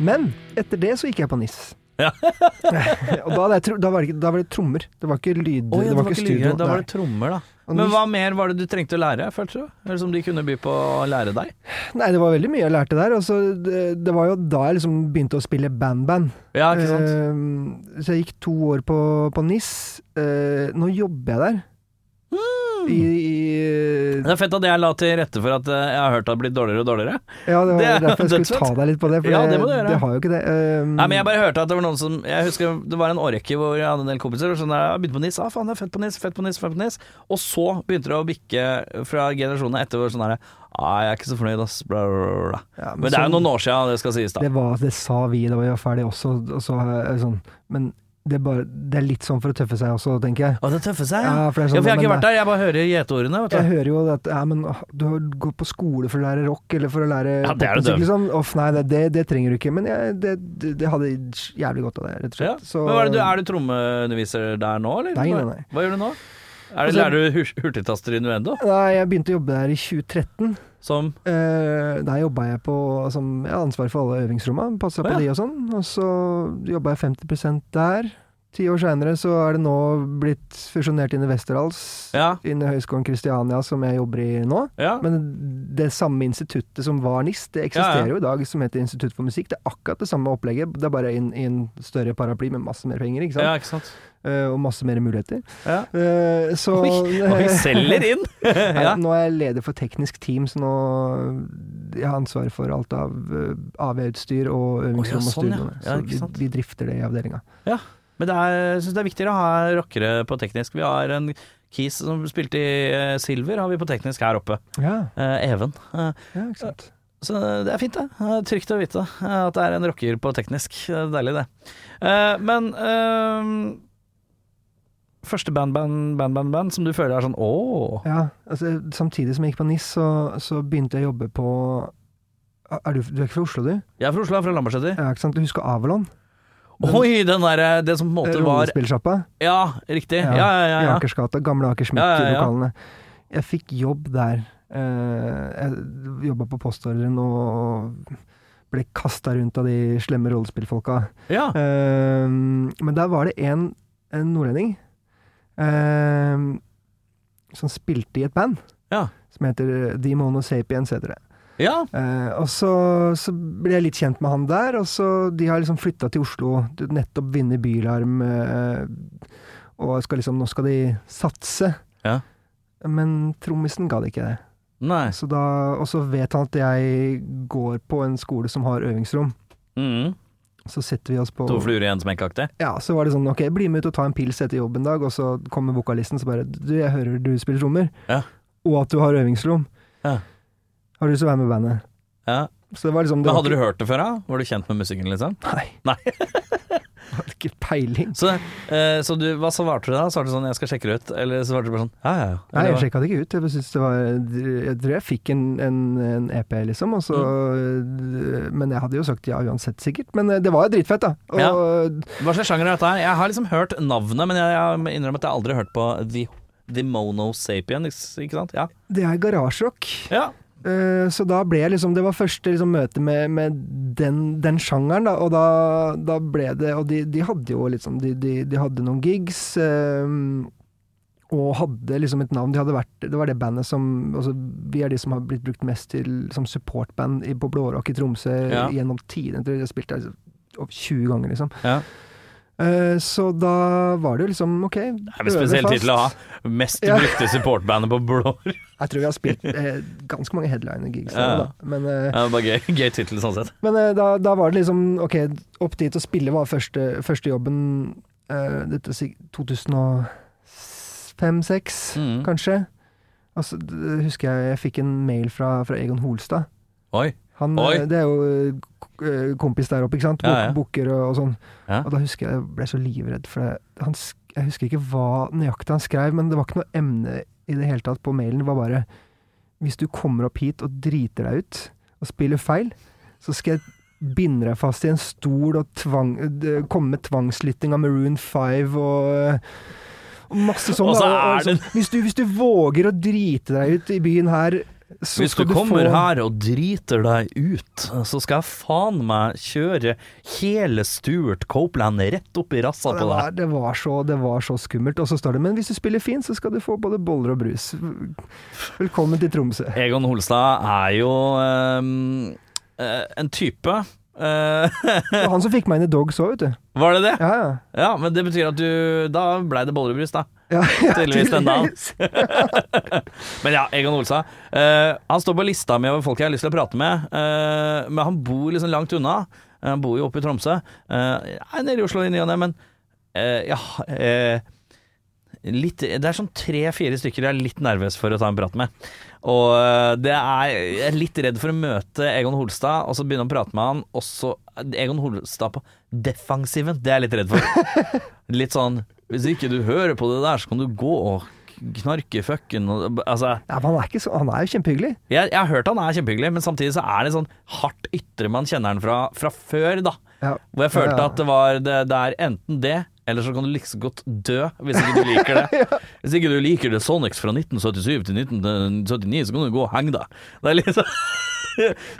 S1: Men etter det så gikk jeg på NIS.
S2: Ja.
S1: og da, hadde jeg, tro- da, var det ikke, da var det trommer. Det var ikke lyd...
S2: Å, ja,
S1: det var ikke
S2: lyder,
S1: studio.
S2: Da var
S1: nei.
S2: det trommer, da.
S1: Og
S2: Men
S1: nys-
S2: hva mer var det du trengte å lære, følte du? Eller som de kunne by på å lære deg?
S1: Nei, det var veldig mye jeg lærte der. Og så det, det var jo da jeg liksom begynte å spille band-band.
S2: Ja, ikke sant?
S1: Eh, så jeg gikk to år på, på NIS. Eh, nå jobber jeg der.
S2: Hmm.
S1: I, i
S2: Det er fett at jeg la til rette for at eh, jeg har hørt det har blitt dårligere og dårligere.
S1: Ja, det var
S2: Det er-
S1: derfor
S2: det
S1: jeg skulle
S2: tror
S1: ta deg litt på det, for
S2: Ja,
S1: det,
S2: det må du gjøre.
S1: det har jo ikke det. Eh,
S2: Nei, men jeg bare hørte at det var noen som Jeg husker det var en årrekke hvor jeg hadde en del kompiser og sånn der, jeg begynte på NIS, ah faen, jeg er født på NIS, født på NIS, født på NIS. Og så begynte det å bikke fra generasjonene etter hvor sånn derre ah, jeg er ikke så fornøyd, ass, bla, bla, bla, bla.
S1: Ja,
S2: Men det er jo
S1: sånn-
S2: noen år siden, det skal sies, da.
S1: Det, var, det sa vi da vi var ferdige også, og så, er det sånn, men det er, bare, det er litt sånn for å tøffe seg også, tenker jeg.
S2: Å, det tøffer seg, ja.
S1: Ja, for det er sånn,
S2: ja, for jeg har ikke
S1: men-
S2: vært der, jeg bare hører gjeteordene, vet
S1: Jeg
S2: du.
S1: hører jo at ja, men, åh, du har gått på skole for å lære rock, eller for å lære
S2: Ja, det er jo
S1: popmusikk,
S2: døvt.
S1: liksom. Uff, nei, det, det, det trenger du ikke. Men jeg, det, det, det hadde jævlig godt av det, rett og
S2: Ja.
S1: slett. Så-
S2: Men hva er, det, du, er du trommeunderviser der nå, eller?
S1: Nei, nei, nei.
S2: Hva gjør du nå? Er det,
S1: Altså,
S2: lærer du hur- hurtigtaster i Nuendo?
S1: Nei, jeg begynte å jobbe der i 2013.
S2: Som
S1: Eh, der jobba jeg på som Jeg hadde ansvar for alle øvingsrommene, passa
S2: Å,
S1: på
S2: ja.
S1: de og sånn. Og så jobba jeg 50 der, Ti år seinere så er det nå blitt fusjonert inn i Westerdals,
S2: Ja.
S1: inn i Høgskolen Kristiania, som jeg jobber i nå.
S2: Ja.
S1: Men det samme instituttet som var NIST, det eksisterer
S2: Ja, ja.
S1: jo i dag, som heter Institutt for musikk. Det er akkurat det samme opplegget, det er bare inn i en større paraply med masse mer penger, ikke sant?
S2: ja, ikke sant.
S1: Eh, og masse mer muligheter.
S2: Ja.
S1: Eh, så
S2: Oi, oi, selger inn!
S1: Nei,
S2: ja.
S1: Nå er jeg leder for teknisk team, så nå jeg har ansvar for alt av eh, AV-utstyr og øvingsrom
S2: sånn,
S1: og
S2: ja.
S1: studioene.
S2: Ja,
S1: Så
S2: ikke
S1: vi,
S2: sant.
S1: vi drifter det i avdelinga.
S2: Men det er, jeg synes det er viktigere å ha rockere på teknisk. Vi har en Keys som spilte i eh, Silver, har vi på teknisk her oppe.
S1: Ja,
S2: Eh, Even. Eh,
S1: ja, ikke sant.
S2: så det er fint, det. Eh, trygt å vite eh, at det er en rocker på teknisk. Det er deilig, det. Eh, men eh, Første band-band-band-band som du føler er sånn ååå.
S1: Ja, altså, samtidig som jeg gikk på NIS, så, så begynte jeg å jobbe på er du, du er ikke fra Oslo, du?
S2: Jeg er fra Oslo, jeg er fra Lambertseter.
S1: Ja, ikke sant? Du husker Avalon?
S2: Oi, den der, eh, det som på en måte var
S1: Rollespillsjappa
S2: Ja, riktig. Ja,
S1: Ja,
S2: ja, ja.
S1: i
S2: ja.
S1: Akersgata. Gamle
S2: Ja, ja, ja.
S1: Akersmykke-lokalene. Jeg fikk jobb der. Eh, Jeg jobba på postordren og ble kasta rundt av de slemme rollespillfolka.
S2: ja.
S1: Eh, men der var det en, en nordlending eh, som spilte i et band
S2: Ja.
S1: som heter The Mono Sapiens, heter det.
S2: ja.
S1: Eh, og så, så ble jeg litt kjent med han der, og så de har liksom flytta til Oslo, du- nettopp vunnet Bylarm, eh, og skal liksom, nå skal de satse.
S2: Ja.
S1: Men trommisen ga det ikke det.
S2: Nei.
S1: Så da, og så vet han at jeg går på en skole som har øvingsrom.
S2: Mm.
S1: Så setter vi oss på
S2: To fluer i en smekk-aktig.
S1: Ja, så var det sånn, ok, bli med ut og ta en pils etter jobb en dag, og så kommer vokalisten så bare, du, jeg hører du spiller trommer,
S2: Ja.
S1: og at du har øvingsrom.
S2: Ja.
S1: Har du lyst til å være med i bandet?
S2: Ja.
S1: Så det var liksom... det
S2: Men
S1: var
S2: hadde du
S1: ikke-
S2: hørt det før, da? Var du kjent med musikken, liksom?
S1: Nei.
S2: Nei.
S1: Hadde ikke peiling.
S2: Så, eh, så du, hva svarte du da? Svarte du sånn 'jeg skal sjekke det ut', eller svarte du bare sånn 'ja, ja, ja'?
S1: Nei,
S2: Eller
S1: jeg
S2: hva?
S1: sjekka det ikke ut. Jeg, bare synes det var, jeg tror jeg fikk en, en, en EP, liksom. Og så,
S2: Mm.
S1: Men jeg hadde jo sagt ja uansett, sikkert. Men eh, det var jo dritfett, da. Og,
S2: Hva slags sjanger er dette her? Jeg har liksom hørt navnet, men jeg, jeg innrømmer at jeg aldri har hørt på The, The Mono Sapien, ikke sant? Ja.
S1: Det er garasjerock.
S2: ja.
S1: Eh, så da ble jeg liksom Det var første liksom, møte med, med den, den sjangeren, da. Og da, da ble det Og de, de hadde jo liksom De, de, de hadde noen gigs. eh, og hadde liksom et navn. De hadde vært, det var det bandet som altså, Vi er de som har blitt brukt mest til, som supportband i- på Blårock i Tromsø
S2: Ja.
S1: gjennom tidene. Jeg tror jeg spilte der over 20 ganger, liksom.
S2: Ja.
S1: Eh, så da var det jo liksom OK,
S2: Det er vel spesiell tittel å ha. Mest
S1: Ja.
S2: brukte supportbandet på Blår.
S1: Jeg tror vi har spilt eh, ganske mange headliner-gigs.
S2: Ja.
S1: da, Men, eh,
S2: Ja, det var gøy, gøy tittel sånn sett.
S1: Men eh, da, da var det liksom Ok, opp dit og spille var første, første jobben eh, Dette sik- 2005-2006,
S2: Mm.
S1: kanskje. Altså, d- husker jeg jeg fikk en mail fra, fra Egon Holstad.
S2: Oi.
S1: Han,
S2: Oi.
S1: eh, Det er jo eh, k- eh, kompis der oppe, ikke sant? Bok,
S2: Ja, ja.
S1: Booker og, og sånn.
S2: Ja.
S1: Og da husker jeg jeg ble så livredd, for det, han, sk- jeg husker ikke hva nøyaktig han skrev, men det var ikke noe emne i det hele tatt på mailen. Det var bare Hvis du kommer opp hit og driter deg ut og spiller feil, så skal jeg binde deg fast i en stol og tvang, d- komme med tvangslytting av Maroon 5 og eh, og masse sånn.
S2: Og så
S1: da,
S2: er
S1: og- og
S2: det-
S1: sånn, hvis, du, hvis du våger å drite deg ut i byen her, så
S2: Hvis du
S1: skal du få
S2: kommer her og driter deg ut, så skal jeg faen meg kjøre hele Stuart Copeland rett opp i rassa
S1: Ja,
S2: på
S1: det, var,
S2: deg.
S1: det, var så, det var så skummelt. Og så står det 'men hvis du spiller fint, så skal du få både boller og brus'. Velkommen til Tromsø.
S2: Egon Holstad er jo ehm, eh, en type eh,
S1: Det var han som fikk meg inn i Dogs òg, vet du.
S2: Var det det?
S1: Ja, ja.
S2: Ja, men det betyr at du Da blei det boller i brus, da.
S1: ja, ja
S2: Tydeligvis den dagen. Men ja, Egon Olsa. eh, han står på lista mi over folk jeg har lyst til å prate med, eh, men han bor liksom langt unna. Eh, han bor jo oppe i Tromsø. Eh, jeg er nede i Oslo i ny og ne, men eh, ja eh, litt, Det er sånn tre-fire stykker jeg er litt nervøs for å ta en prat med. Og eh, det er, jeg er litt redd for å møte Egon Holstad, og så begynne å prate med han, og så Egon Holstad på defensiven. Det er jeg litt redd for. Litt sånn Hvis ikke du hører på det der, så kan du gå og knarke fucken og Altså.
S1: Ja, men han er, ikke så, han er jo kjempehyggelig.
S2: Jeg, jeg har hørt han er kjempehyggelig, men samtidig så er det sånn hardt ytre man kjenner han fra, fra før, da.
S1: Ja.
S2: Hvor jeg følte
S1: Ja, ja.
S2: at det var det, det er enten det, eller så kan du like så godt dø hvis ikke du liker det. Hvis ikke du liker det Sonics fra 1977 til 1979, så kan du gå og henge deg. Det er litt sånn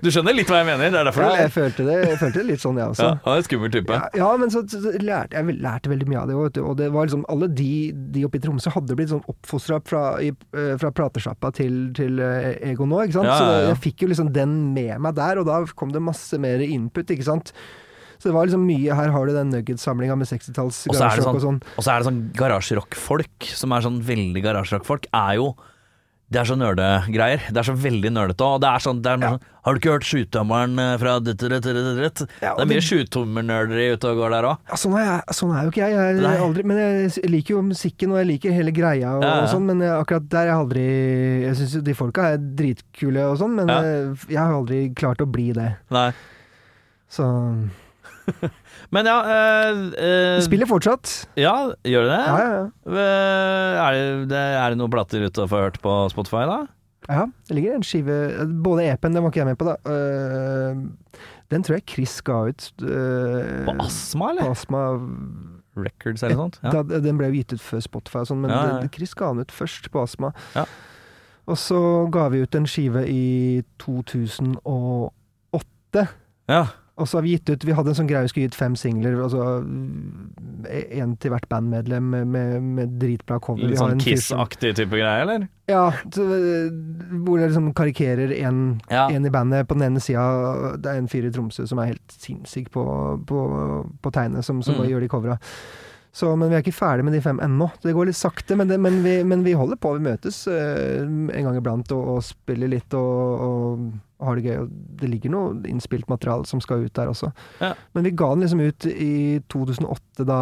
S2: Du skjønner litt hva jeg mener? Det er derfor
S1: Ja,
S2: du
S1: jeg følte det, jeg følte det litt sånn, jeg også.
S2: Ja, han er en skummel type.
S1: Ja, ja, men så, så så lærte jeg lærte veldig mye av det. også, Vet du. Og det var liksom, alle de, de oppe i Tromsø hadde blitt sånn oppfostra fra, i- eh, fra platesjappa til, til eh, Ego nå. ikke sant?
S2: Ja,
S1: Så
S2: ja,
S1: det,
S2: ja.
S1: jeg fikk jo liksom den med meg der, og da kom det masse mer input. ikke sant? Så det var liksom mye Her har du den nuggetsamlinga med 60-talls
S2: Og så er det
S1: garasjerock og
S2: sånn,
S1: sånn.
S2: og så er det sånn garasjerock-folk, som er sånn veldig garasjerock-folk, er jo det er så nerdegreier. Det er så veldig nerdete. Og det er sånn, det er noe
S1: Ja.
S2: sånn Har du ikke hørt sjutommeren eh, fra ditt, ditt, ditt, ditt, ditt?
S1: Ja, og
S2: Det er mye
S1: det-
S2: sjutommernerderi ute og går der òg.
S1: Ja, sånn, er jeg, sånn er jo ikke jeg. jeg,
S2: Nei.
S1: jeg aldri, men jeg s- liker jo musikken, og jeg liker hele greia, og,
S2: Ja, ja.
S1: og sånn, men jeg, akkurat der er jeg aldri Jeg syns jo de folka er dritkule og sånn, men
S2: Ja.
S1: eh, jeg har aldri klart å bli det. Så
S2: Men ja øh, øh,
S1: De spiller fortsatt.
S2: Ja, gjør det det?
S1: Ja, ja, ja.
S2: Øh, er, det, det? Er det noen plater ute å få hørt på Spotify, da?
S1: ja det ligger en skive Både EP-en, den var ikke jeg med på, da. Eh, den tror jeg Chris ga ut. eh,
S2: På Astma,
S1: på
S2: eller?
S1: Astma.
S2: Records eller noe sånt? Ja.
S1: Da, den ble jo gitt ut før Spotify og sånn, men
S2: Ja, ja, ja.
S1: det- Chris ga den ut først på Astma.
S2: Ja.
S1: Og så ga vi ut en skive i 2008,
S2: ja.
S1: og så har vi gitt ut Vi hadde en sånn greie vi skulle gi ut fem singler, altså mm, en til hvert bandmedlem med, med, med dritbra cover. Vi
S2: Litt
S1: har
S2: sånn
S1: en fyr som-
S2: Kiss-aktig type greie, eller?
S1: Ja, så, eh, hvor det liksom karikerer en,
S2: Ja.
S1: en i bandet på den ene sida. Det er en fyr i Tromsø som er helt sinnssyk på, på, på tegnet, som, som
S2: Mm.
S1: gjør de covera. Så, men vi er ikke ferdig med de fem ennå. Det går litt sakte, men, det, men, vi, men vi holder på. Vi møtes eh, en gang iblant og, og spiller litt og, og har det gøy. Og det ligger noe innspilt materiale som skal ut der også.
S2: Ja.
S1: Men vi ga den liksom ut i 2008, da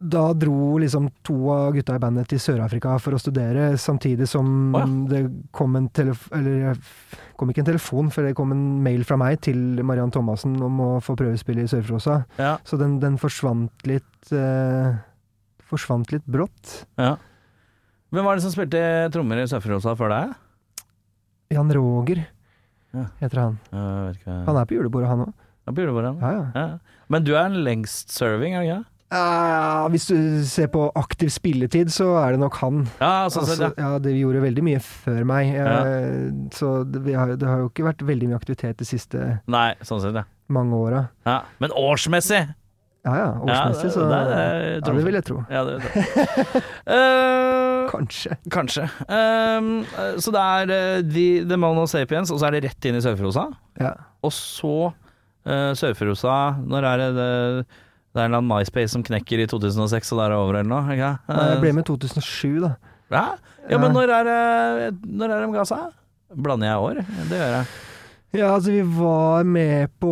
S1: da dro liksom to av gutta i bandet til Sør-Afrika for å studere, samtidig som
S2: Å
S1: det kom en telef... Eller det kom ikke en telefon, for det kom en mail fra meg til Mariann Thomassen om å få prøvespille i Sør-Frosa.
S2: Ja.
S1: Så den, den forsvant litt eh, Forsvant litt brått.
S2: Ja. Hvem var det som spilte trommer i Sør-Frosa før deg?
S1: Jan Roger
S2: Ja.
S1: heter han.
S2: Jeg vet ikke.
S1: Han er på julebordet, han òg.
S2: Ja, på julebordet, han.
S1: Ja, ja.
S2: Ja. Men du er en lengst serving, er du ikke? det?
S1: Eh, hvis du ser på aktiv spilletid, så er det nok han.
S2: Ja, sånn sett,
S1: altså,
S2: ja.
S1: ja, de gjorde veldig mye før meg, eh,
S2: Ja.
S1: så det, vi har, det har jo ikke vært veldig mye aktivitet de siste
S2: Nei, sånn sett, ja.
S1: mange åra.
S2: ja. Men årsmessig!
S1: Ja ja, årsmessig,
S2: det-
S1: så
S2: det er- eh,
S1: ja, det vil jeg tro.
S2: Ja, det vet jeg. Eh,
S1: Kanskje.
S2: kanskje. Um, eh, så det er eh, The, The Mono Sapiens, og så er det rett inn i Sør-Frosa.
S1: Ja.
S2: Og så uh, Sør-Frosa Når er det det, det er en eller annen MySpace som knekker i 2006, og det er over eller noe? Ikke? sant?
S1: Nei, Jeg
S2: Eh,
S1: ble med i 2007, da.
S2: Hæ? Ja, men
S1: Ja.
S2: når er, det- når er de ga seg? Blander jeg år? Det gjør jeg.
S1: Ja, altså, vi var med på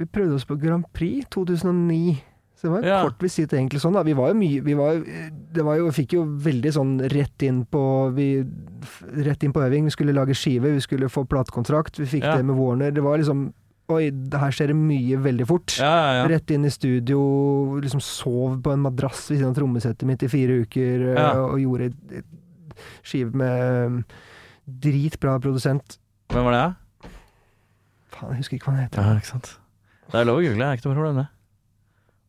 S1: Vi prøvde oss på Grand Prix 2009. Så det var en
S2: Ja.
S1: kort visitt, egentlig. sånn da. Vi var jo mye vi var, jo- Det var jo, fikk jo veldig sånn rett inn på vi, f- Rett inn på øving. Vi skulle lage skive, vi skulle få platekontrakt. Vi fikk
S2: Ja.
S1: det med Warner. Det var liksom Oi, det her skjer det mye veldig fort.
S2: Ja, ja, ja.
S1: Rett inn i studio, liksom sov på en madrass ved siden av trommesettet mitt i fire uker, eh,
S2: Ja.
S1: og gjorde et- et skive med eh, dritbra produsent.
S2: Hvem var det? da?
S1: Faen, jeg husker ikke hva han heter.
S2: Ja, ikke sant. Det er lov å google, det er ikke noe problem, det.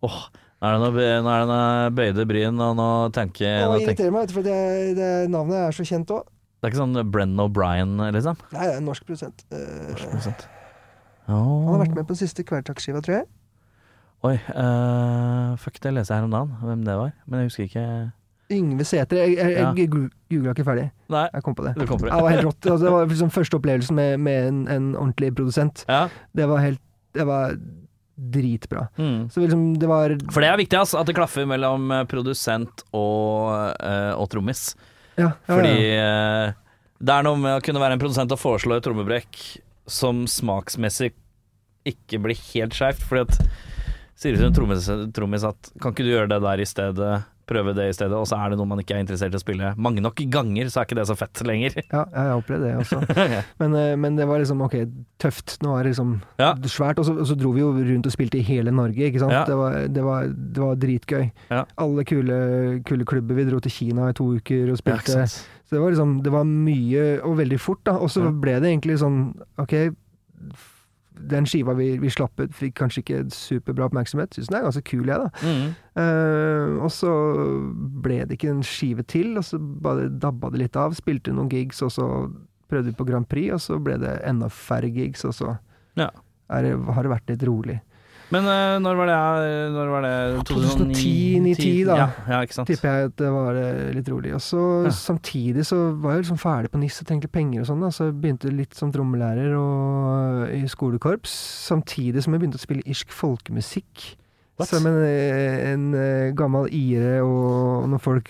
S2: Åh, nå er det noe, be- nå er det noe bøyde bryn, og nå tenker jeg nå
S1: Å, det
S2: tenker.
S1: irriterer meg, vet du, for det, det navnet er så kjent òg.
S2: Det er ikke sånn Brenn O'Brien, liksom.
S1: Nei, det er en norsk produsent. Eh,
S2: Ikke sant?
S1: han har vært med på den siste Kvelertak-skiva, tror jeg.
S2: Oi, eh, fuck, det leser jeg her om dagen, hvem det var. Men jeg husker ikke
S1: Yngve Sætre. Jeg, jeg,
S2: Ja.
S1: jeg gu- googla ikke ferdig.
S2: Nei,
S1: Jeg kom på det.
S2: du kommer
S1: Ja, Det var helt rått. Altså, det var liksom første opplevelsen med, med en, en ordentlig produsent.
S2: Ja.
S1: Det var helt Det var dritbra.
S2: Mm.
S1: Så liksom, det var
S2: For det er viktig, ass, at det klaffer mellom eh, produsent og, eh, og trommis.
S1: Ja, ja,
S2: Fordi
S1: ja.
S2: eh, det er noe med å kunne være en produsent og foreslå et trommebrekk som smaksmessig ikke blir helt skjevt. Fordi at sier du til en trommis, trommis at kan ikke du gjøre det der i stedet, prøve det i stedet, og så er det noe man ikke er interessert i å spille mange nok ganger, så er ikke det så fett lenger.
S1: Ja, ja, jeg opplevde det også. Men, eh, men det var liksom ok, tøft. Nå er det liksom
S2: Ja.
S1: svært. Og så, og så dro vi jo rundt og spilte i hele Norge, ikke sant.
S2: Ja.
S1: Det, var, det, var, det var dritgøy.
S2: Ja.
S1: Alle kule, kule klubber. Vi dro til Kina i to uker
S2: Ja,
S1: og
S2: ikke
S1: spilte.
S2: sant?
S1: så det var liksom Det var mye, og veldig fort, da. Og så
S2: Ja.
S1: ble det egentlig sånn ok, f- den skiva vi, vi slapp ut, fikk kanskje ikke superbra oppmerksomhet. Syns den er ganske kul, jeg, da.
S2: Mm.
S1: Eh, og så ble det ikke en skive til, og så bare dabba det litt av. Spilte noen gigs, og så prøvde vi på Grand Prix, og så ble det enda færre gigs, og så
S2: Ja.
S1: er det, har det vært litt rolig.
S2: Men eh, når var det? eh, Når var det
S1: 2010,
S2: 10,
S1: da.
S2: Ja, ja, ikke sant.
S1: Tipper jeg at det var eh, litt rolig. Og så
S2: Ja.
S1: samtidig så var jeg liksom ferdig på NIS og tenkte penger og sånn, da. Så jeg begynte litt som trommelærer og eh, i skolekorps. Samtidig som jeg begynte å spille irsk folkemusikk.
S2: What?
S1: Som en, eh, en eh, gammel ire og noen folk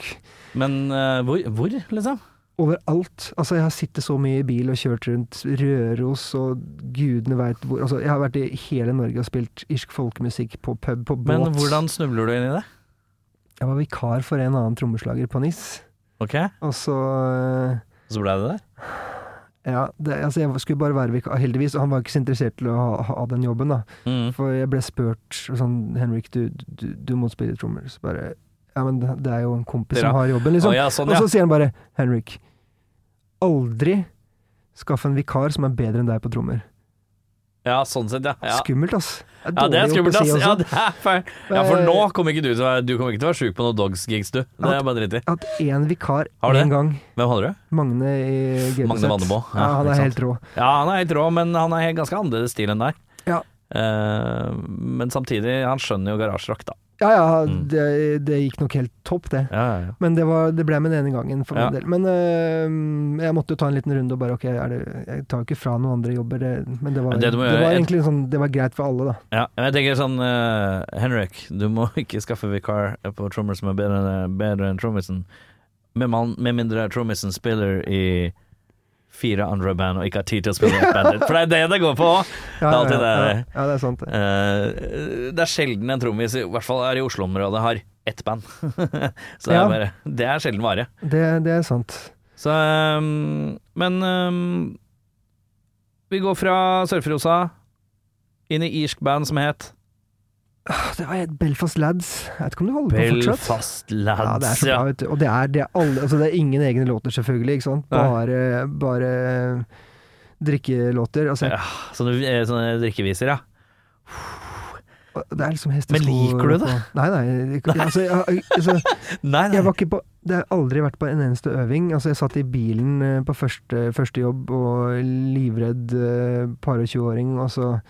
S2: Men eh, hvor, hvor, liksom?
S1: overalt. Altså, jeg har sittet så mye i bil og kjørt rundt Røros og gudene veit hvor. Altså, jeg har vært i hele Norge og spilt irsk folkemusikk på pub, på båt.
S2: Men hvordan snubler du inn i det?
S1: Jeg var vikar for en annen trommeslager på NIS,
S2: Ok,
S1: og så eh,
S2: Så ble det der?
S1: Ja, det, altså jeg skulle bare være vikar, heldigvis. Og han var ikke så interessert til å ha, ha den jobben, da.
S2: Mm.
S1: For jeg ble spurt sånn 'Henrik, du, du, du må spille trommer'. Så bare Ja, men det er jo en kompis
S2: Dere-
S1: som har jobben, liksom.
S2: Å ja, sånn, ja.
S1: Og så sier han bare 'Henrik, aldri skaff en vikar som er bedre enn deg på trommer'.
S2: ja, sånn sett, ja. Ja,
S1: Skummelt, ass. Det
S2: ja det er
S1: dårlig gjort
S2: skummelt,
S1: å
S2: ass.
S1: si
S2: Ja,
S1: også.
S2: det er feil. ja, for nå kommer ikke du til å være Du kommer ikke til å være sjuk på noen Dogs-gigs, du. Det er bare dritt i.
S1: At én vikar
S2: Har du det?
S1: én gang.
S2: Hvem hadde du?
S1: Magne i GBZ.
S2: Magne Vannebo,
S1: Ja,
S2: ja,
S1: han
S2: ikke
S1: er
S2: sant.
S1: helt rå.
S2: Ja, han er helt rå, men han er helt ganske annerledes stil enn deg.
S1: Ja.
S2: Eh, men samtidig, han skjønner jo garasjerock, da.
S1: Ja ja,
S2: Mm.
S1: det, det gikk nok helt topp, det.
S2: Ja, ja, ja.
S1: Men det, var, det ble med den ene gangen for
S2: Ja.
S1: min del. Men øh, jeg måtte jo ta en liten runde og bare ok, er det, jeg tar jo ikke fra noen andre jobber, det, men det var,
S2: Det
S1: det
S2: du må gjøre,
S1: var
S2: et-
S1: egentlig sånn, det var greit for alle, da.
S2: Ja, men jeg tenker sånn eh, Henrik, du må ikke skaffe vikar på trommer som er bedre, enn- bedre enn trommisen. Med, man- med mindre trommisen spiller i fire andre band og ikke har tid til å spille i ett band. For det er det det går på òg. Det
S1: Ja,
S2: er alltid
S1: ja,
S2: det.
S1: Ja, ja, det er sant. det.
S2: Eh, det er sjelden en trommis, i hvert fall her i Oslo-området, har ett band. Så det
S1: Ja.
S2: er, bare, det er sjelden vare.
S1: Det, det er sant.
S2: Så ehm, Men ehm, vi går fra Surferosa inn i irsk band som het
S1: Åh, Ah, Det var et Belfast Lads. Jeg vet ikke om du holder på fortsatt.
S2: Belfast
S1: Ja, det er
S2: Lads.
S1: så bra,
S2: Ja,
S1: vet du. Og det er, det, er alle, altså det er ingen egne låter, selvfølgelig. ikke sant?
S2: Nei.
S1: Bare, bare drikkelåter. Altså,
S2: Ja. sånne, eh, sånne drikkeviser, ja.
S1: Det er liksom hestesko
S2: Men liker du det?
S1: på- Nei, nei. jeg- Altså, jeg, altså,
S2: Nei,
S1: Jeg var ikke på Det har aldri vært på en eneste øving. Altså, jeg satt i bilen eh, på første, første jobb og livredd eh, par og 20-åring, og så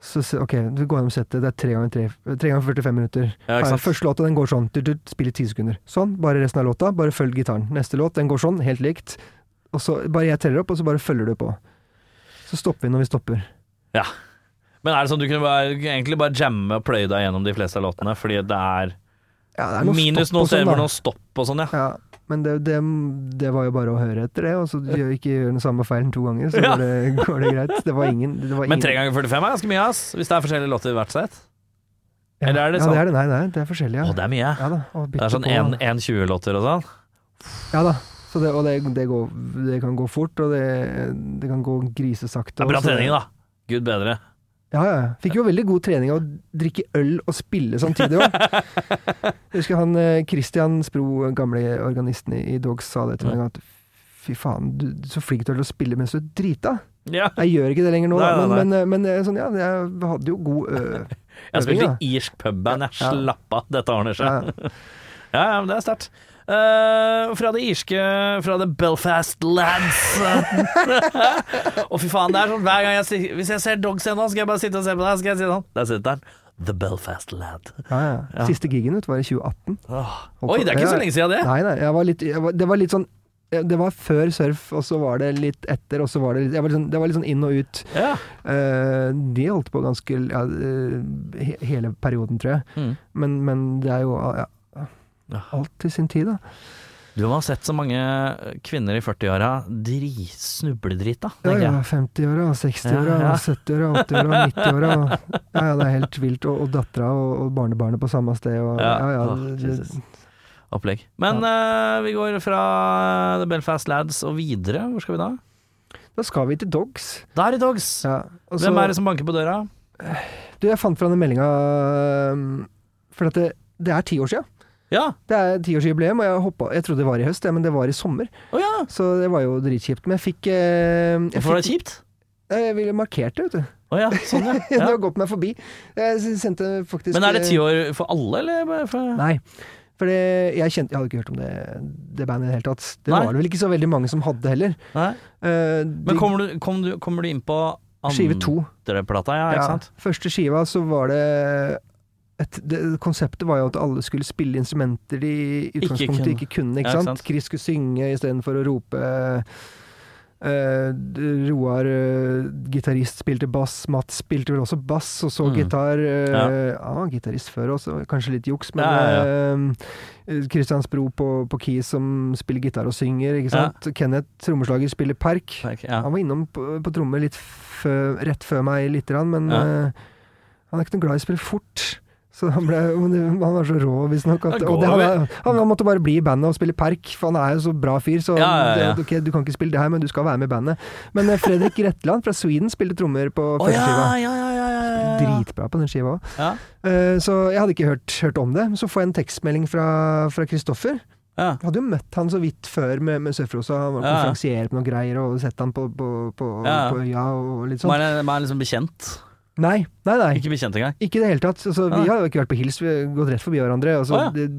S1: så, se- OK, du går gjennom settet, det er tre ganger, tre, tre ganger 45 minutter.
S2: Ja, ikke
S1: Her,
S2: sant?
S1: første låta den går sånn, du, du, spiller ti sekunder. Sånn, bare resten av låta, bare følg gitaren. Neste låt, den går sånn, helt likt. Og så bare jeg teller opp, og så bare følger du på. Så stopper vi når vi stopper.
S2: Men er det sånn du kunne bare, egentlig bare jamme og pløye deg gjennom de fleste av låtene? Fordi det er,
S1: Ja, det er noe
S2: minus
S1: stopp
S2: noen
S1: og sånn,
S2: steder
S1: da.
S2: hvor noe stopp og sånn, ja.
S1: Ja, men det, det, det var jo bare å høre etter det, og så gjør, ikke gjør den samme feilen to ganger, så
S2: Ja.
S1: går, det, går det greit. Det var ingen det var
S2: Men
S1: ingen-
S2: 3 ganger 45 er ganske mye, ass. Hvis det er forskjellige låter i hvert sett.
S1: ja.
S2: eller er det
S1: ja,
S2: sånn?
S1: det er det. Nei, nei, det er forskjellig, ja.
S2: Å, det er mye.
S1: ja da,
S2: Det
S1: og bytte
S2: er sånn
S1: på.
S2: 1-20-låter og sånn.
S1: Ja da. Så det, og det, det, går, det kan gå fort, og det, det kan gå grisesakte.
S2: Det er bra
S1: og så-
S2: trening, da. Gud bedre.
S1: Ja, ja. Fikk jo veldig god trening av å drikke øl og spille samtidig òg. Jeg husker han eh, Christian Spro, gamle organisten i i Dogs, sa det til meg, at fy faen, du er så flink til å spille mens du er drita.
S2: Ja.
S1: Jeg gjør ikke det lenger nå, da,
S2: Nei, nei,
S1: men, men, men eh, sånn, ja, jeg hadde jo god øh,
S2: Jeg spilte
S1: Øving,
S2: i irsk pubband, jeg.
S1: Ja.
S2: Slapp av, dette ordner
S1: ja.
S2: seg. Ja, ja, men det er sterkt. Eh, fra det irske Fra det Belfast Lads. Å, fy faen. det er sånn hver gang jeg si- Hvis jeg ser Dogs igjen nå, skal jeg bare sitte og se på deg. Skal jeg si sånn Der sitter den. The Belfast Lad.
S1: Ja, ja. Siste gigen vet, du, var i 2018.
S2: Åh.
S1: Holdt
S2: Oi,
S1: på-
S2: det er ikke så
S1: ja.
S2: lenge siden det.
S1: Nei, nei, jeg var litt, jeg var, det var litt sånn eh, det var før surf, og så var det litt etter, og så var det litt jeg var litt sånn, Det var litt sånn inn og ut.
S2: Ja.
S1: Eh, de holdt på ganske ja, eh, he, hele perioden, tror jeg.
S2: Mm.
S1: Men, men det er jo ja,
S2: Ja.
S1: alt til sin tid, da.
S2: Du har sett så mange kvinner i 40-åra dri- snubledrita,
S1: Ja,
S2: tenker
S1: ja,
S2: jeg.
S1: 50-åra, 60-åra,
S2: Ja, ja.
S1: 70-åra, 80-åra, 90-åra. og- Ja, ja, det er helt vilt. Og, og dattera og, og barnebarnet på samme sted. Og, ja, ja,
S2: Åh,
S1: det- det-
S2: Jesus. Opplegg. Men eh, vi går fra eh, The Belfast Lads og videre. Hvor skal vi da?
S1: Da skal vi til Dogs.
S2: Der i Dogs!
S1: Ja. altså- og så-
S2: Hvem er det som banker på døra?
S1: Du, jeg fant fra den meldinga For at det, det er ti år sia.
S2: Ja!
S1: Det er tiårsjubileum, og jeg, hoppa, jeg trodde det var i høst, ja, men det var i sommer.
S2: Å ja!
S1: Så det var jo dritkjipt. Men jeg fikk eh, jeg,
S2: Hvorfor var det
S1: fikk,
S2: kjipt?
S1: Nei, jeg ville markert det, vet du.
S2: Å ja, sånn ja.
S1: Det
S2: ja.
S1: har gått meg forbi. Jeg s- sendte faktisk
S2: Men er det
S1: eh,
S2: ti år for alle, eller bare for
S1: Nei. Fordi jeg kjente, jeg hadde ikke hørt om det, det bandet i det hele tatt. Det
S2: Nei.
S1: var det vel ikke så veldig mange som hadde heller.
S2: Nei.
S1: Eh, de-
S2: Men kommer du, kom du, kommer du inn på
S1: Skive to.
S2: andreplata, ja, ikke
S1: Ja,
S2: sant?
S1: Første skiva så var det et, det, Konseptet var jo at alle skulle spille instrumenter de i
S2: Ikke
S1: utgangspunktet
S2: kunne.
S1: ikke kunne.
S2: Ja,
S1: ikke
S2: ikke
S1: sant?
S2: sant.
S1: Chris skulle synge istedenfor å rope. eh, Roar, eh, gitarist, spilte bass. Mats spilte vel også bass, og så
S2: Mm.
S1: gitar. eh,
S2: Ja.
S1: ja, gitarist før også, kanskje litt juks, men
S2: Ja, ja,
S1: eh, Christians Bro på, på keys som spiller gitar og synger, ikke
S2: Ja.
S1: sant. Kenneth, trommeslager, spiller park.
S2: Takk, Ja.
S1: Han var innom på, på trommer litt fø- rett før meg, lite grann, men
S2: Ja.
S1: eh, han er ikke noe glad i å spille fort. Så han, ble, men han var så rå, visstnok. at-
S2: Ja,
S1: og
S2: går
S1: det- Han,
S2: vel.
S1: er- han, han måtte bare bli i bandet og spille park, for han er jo så bra fyr. Så
S2: Ja, ja, ja.
S1: Det, ok, du kan ikke spille det her, men du skal være med i bandet. Men eh, Fredrik Retland fra Sweden spilte trommer
S2: Å,
S1: på første
S2: ja, ja,
S1: skiva.
S2: ja, ja, ja, ja, ja.
S1: Dritbra på den skiva òg.
S2: Ja.
S1: så jeg hadde ikke hørt, hørt om det. Men så får jeg en tekstmelding fra fra Kristoffer.
S2: Ja.
S1: Jeg hadde jo møtt han så vidt før med, med Sørfrosa. Han var
S2: Ja, ja.
S1: konferansier på noen greier og sett han på, på, på,
S2: Ja, ja.
S1: på øya og litt
S2: Man
S1: sånn.
S2: er, man er liksom bekjent.
S1: Nei, nei, nei.
S2: Ikke bekjent engang.
S1: Ikke i det hele tatt. Altså, vi
S2: Nei.
S1: har jo ikke vært på hils, vi har gått rett forbi hverandre. Altså,
S2: Å, ja.
S1: det,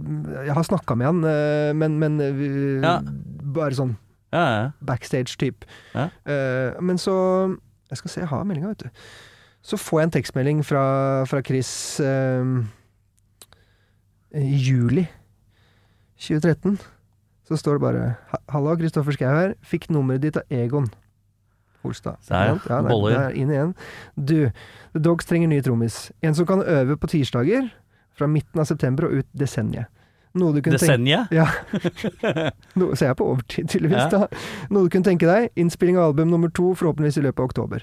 S1: jeg har snakka med han, eh, men, men eh, vi-
S2: Ja.
S1: bare sånn
S2: Ja, ja.
S1: backstage-type.
S2: Ja.
S1: Eh, men så Jeg skal se, jeg har meldinga, vet du. Så får jeg en tekstmelding fra, fra Chris eh, i juli 2013. Så står det bare «Ha- 'Halla, Kristoffer Schau her. Fikk nummeret ditt av Egon'. Holstad.
S2: Se her,
S1: Ikke sant? ja, der,
S2: boller.
S1: der, inn igjen. Du, The Dogs trenger ny trommis. En som kan øve på tirsdager fra midten av september og ut desenniet. Noe du kunne tenke
S2: Desenniet?
S1: ja. No, så jeg er på overtid, tydeligvis.
S2: Ja.
S1: Da. Noe du kunne tenke deg. Innspilling av album nummer to, forhåpentligvis i løpet av oktober.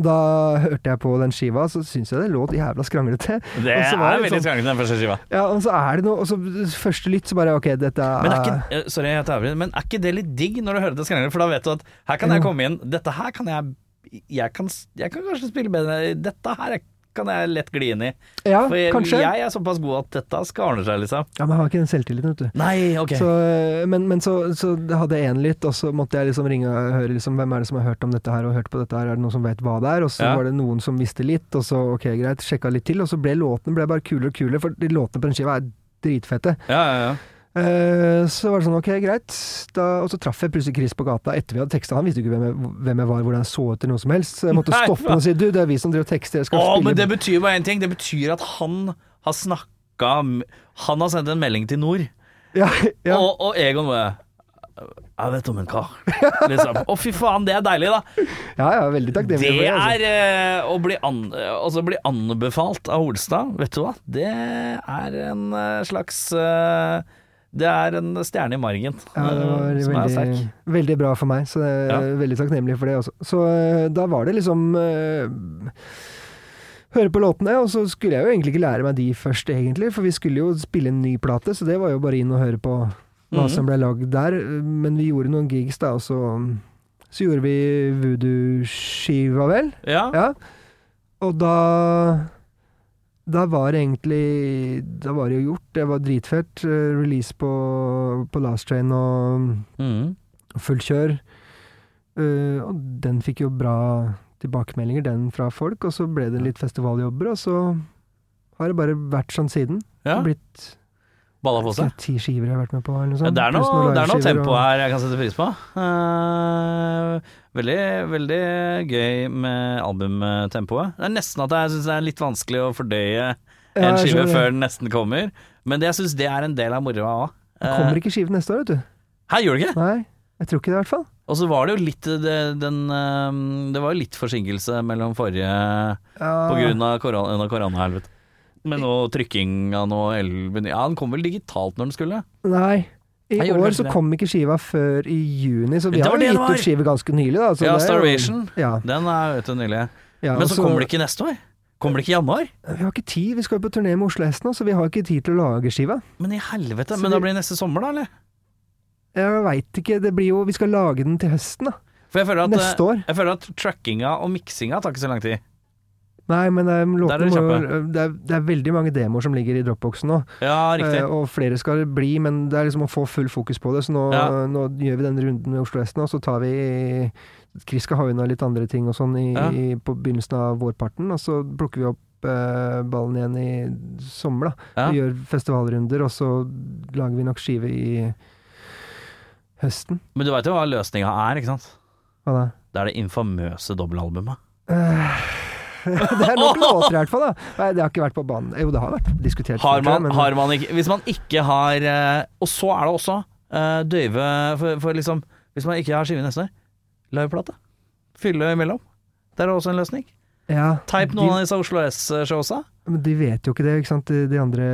S1: Da hørte jeg på den skiva, så syns jeg det låt jævla skranglete.
S2: Det
S1: Og så var
S2: er
S1: det
S2: veldig
S1: sånn-
S2: skranglet, den første skiva.
S1: Ja, og så er det noe Og så første lytt, så bare ok, dette er
S2: Men er ikke, eh, sorry, jeg tar over, men er ikke det litt digg når du hører det skrangler? For da vet du at her kan jeg
S1: Jo.
S2: komme inn, dette her kan jeg Jeg kan, jeg kan kanskje spille bedre, dette her kan jeg lett gli inn i.
S1: Ja,
S2: For jeg,
S1: kanskje.
S2: jeg er såpass god at dette skal ordne seg, liksom.
S1: Ja, men jeg har ikke den selvtilliten, vet du.
S2: Nei, ok.
S1: Så, eh, men men så, så jeg hadde jeg én lytt, og så måtte jeg liksom ringe og høre liksom, hvem er det som har hørt om dette her og hørt på dette her, er det noen som vet hva det er? Og så
S2: Ja.
S1: var det noen som visste litt, og så ok, greit, sjekka litt til, og så ble låtene ble bare kulere og kulere, for de låtene på den skiva er dritfette.
S2: ja, ja, ja.
S1: Eh, så var det sånn, ok, greit. Da, og så traff jeg plutselig Chris på gata etter vi hadde teksta. Han visste jo ikke hvem jeg, hvem jeg var, hvordan jeg så ut eller noe som helst. Så jeg måtte
S2: Nei,
S1: stoppe han og si du, det er vi som driver og tekster, jeg skal
S2: Å, men det
S1: spille
S2: betyr bare én ting. Det betyr at han har snakka m- Han har sendt en melding til Nord,
S1: ja, ja.
S2: og, og Egon bare Jeg vet om en kar. Liksom. Å, fy faen, det er deilig, da.
S1: ja, ja, veldig
S2: Det
S1: takknemlig. for det, altså.
S2: er eh, å bli, an, altså, bli anbefalt av Holstad, vet du hva. Det er en eh, slags eh, Det er en stjerne i margen
S1: Ja, det var
S2: eh, som er
S1: veldig,
S2: sterk.
S1: veldig bra for meg, så jeg er
S2: Ja.
S1: veldig takknemlig for det. Også. Så eh, da var det liksom eh, Høre på låtene, og så skulle jeg jo egentlig ikke lære meg de først, egentlig, for vi skulle jo spille en ny plate, så det var jo bare inn og høre på hva
S2: Mhm.
S1: som ble lagd der. Men vi gjorde noen gigs, da, og så, så gjorde vi voodoo-skiva, vel.
S2: Ja.
S1: Ja. Og da Da var det egentlig Da var det jo gjort. Det var dritfett. Eh, Release på, på Last Train og
S2: Mhm.
S1: fullt kjør. Eh, og den fikk jo bra tilbakemeldinger, den fra folk. Og så ble det litt festivaljobber, og så har det bare vært sånn siden. Det
S2: ja.
S1: har blitt
S2: Balla på seg.
S1: skal jeg si, ti skiver jeg har vært med på, eller noe
S2: Ja,
S1: sånt.
S2: det er
S1: pluss
S2: noe,
S1: noen
S2: det er noe
S1: liveskiver
S2: tempo
S1: og-
S2: her jeg kan sette pris på. Eh, veldig, veldig gøy med albumtempoet. Det er nesten at jeg syns det er litt vanskelig å fordøye
S1: Ja,
S2: en
S1: jeg
S2: skive
S1: skjønner det.
S2: før den nesten kommer, men det, jeg syns det er en del av moroa òg.
S1: Det kommer ikke skive neste år, vet du.
S2: Her gjør det ikke!
S1: Nei, jeg tror ikke det, i hvert fall.
S2: Og så var det jo litt det, den, eh, det var jo litt forsinkelse mellom forrige
S1: Ja.
S2: på grunn av korona, koronahelvete. Med noe trykking av noe elven Ja, den kom vel digitalt når den skulle?
S1: Nei. I
S2: Jeg gjorde
S1: år
S2: kanskje
S1: så
S2: det.
S1: kom ikke skiva før i juni, så vi
S2: Det
S1: har
S2: var det det
S1: jo gitt
S2: var.
S1: ut skive ganske nylig. Da, så
S2: Ja,
S1: det er jo-
S2: Starvation.
S1: Ja,
S2: Den er ute nylig.
S1: ja,
S2: Men
S1: og
S2: så kommer det ikke neste år? Kommer det ikke i januar?
S1: Vi har ikke tid, vi skal jo på turné med Oslo S nå, så vi har ikke tid til å lage skiva.
S2: Men i helvete,
S1: Så
S2: men
S1: vi-
S2: da blir det neste sommer da, eller?
S1: Jeg veit ikke, det blir jo Vi skal lage den til høsten, da.
S2: For jeg føler at, eh,
S1: Neste år.
S2: Jeg føler at trackinga og miksinga tar ikke så lang tid.
S1: Nei, men det er,
S2: Der er
S1: låtene
S2: det
S1: må, jo- eh,
S2: kjappe.
S1: det, er, det er veldig mange demoer som ligger i dropboxen nå,
S2: Ja,
S1: eh, og flere skal bli, men det er liksom å få full fokus på det. Så nå,
S2: Ja.
S1: nå gjør vi den runden med Oslo S nå, så tar vi Chris skal ha unna litt andre ting og sånn i,
S2: Ja.
S1: i, på begynnelsen av vårparten, og så plukker vi opp opp eh, ballen igjen i sommer, da.
S2: Ja.
S1: Vi gjør festivalrunder, og så lager vi nok skive i høsten.
S2: Men du veit jo hva løsninga er, ikke sant?
S1: Hva da? Eh,
S2: Det er det infamøse dobbelalbumet.
S1: Det er nok låter i hvert fall, da. Nei, det har ikke vært på banen. Jo, det har vært diskutert. før,
S2: Har
S1: tror jeg,
S2: man, har man ikke Hvis man ikke har eh, Og så er det også eh, døyve for, for liksom Hvis man ikke har skive neste år, liveplate. Fylle imellom. Det er også en løsning.
S1: ja,
S2: Teip
S1: de,
S2: noen av disse Oslo S-showsa.
S1: Men de vet jo ikke det, ikke sant, de, de andre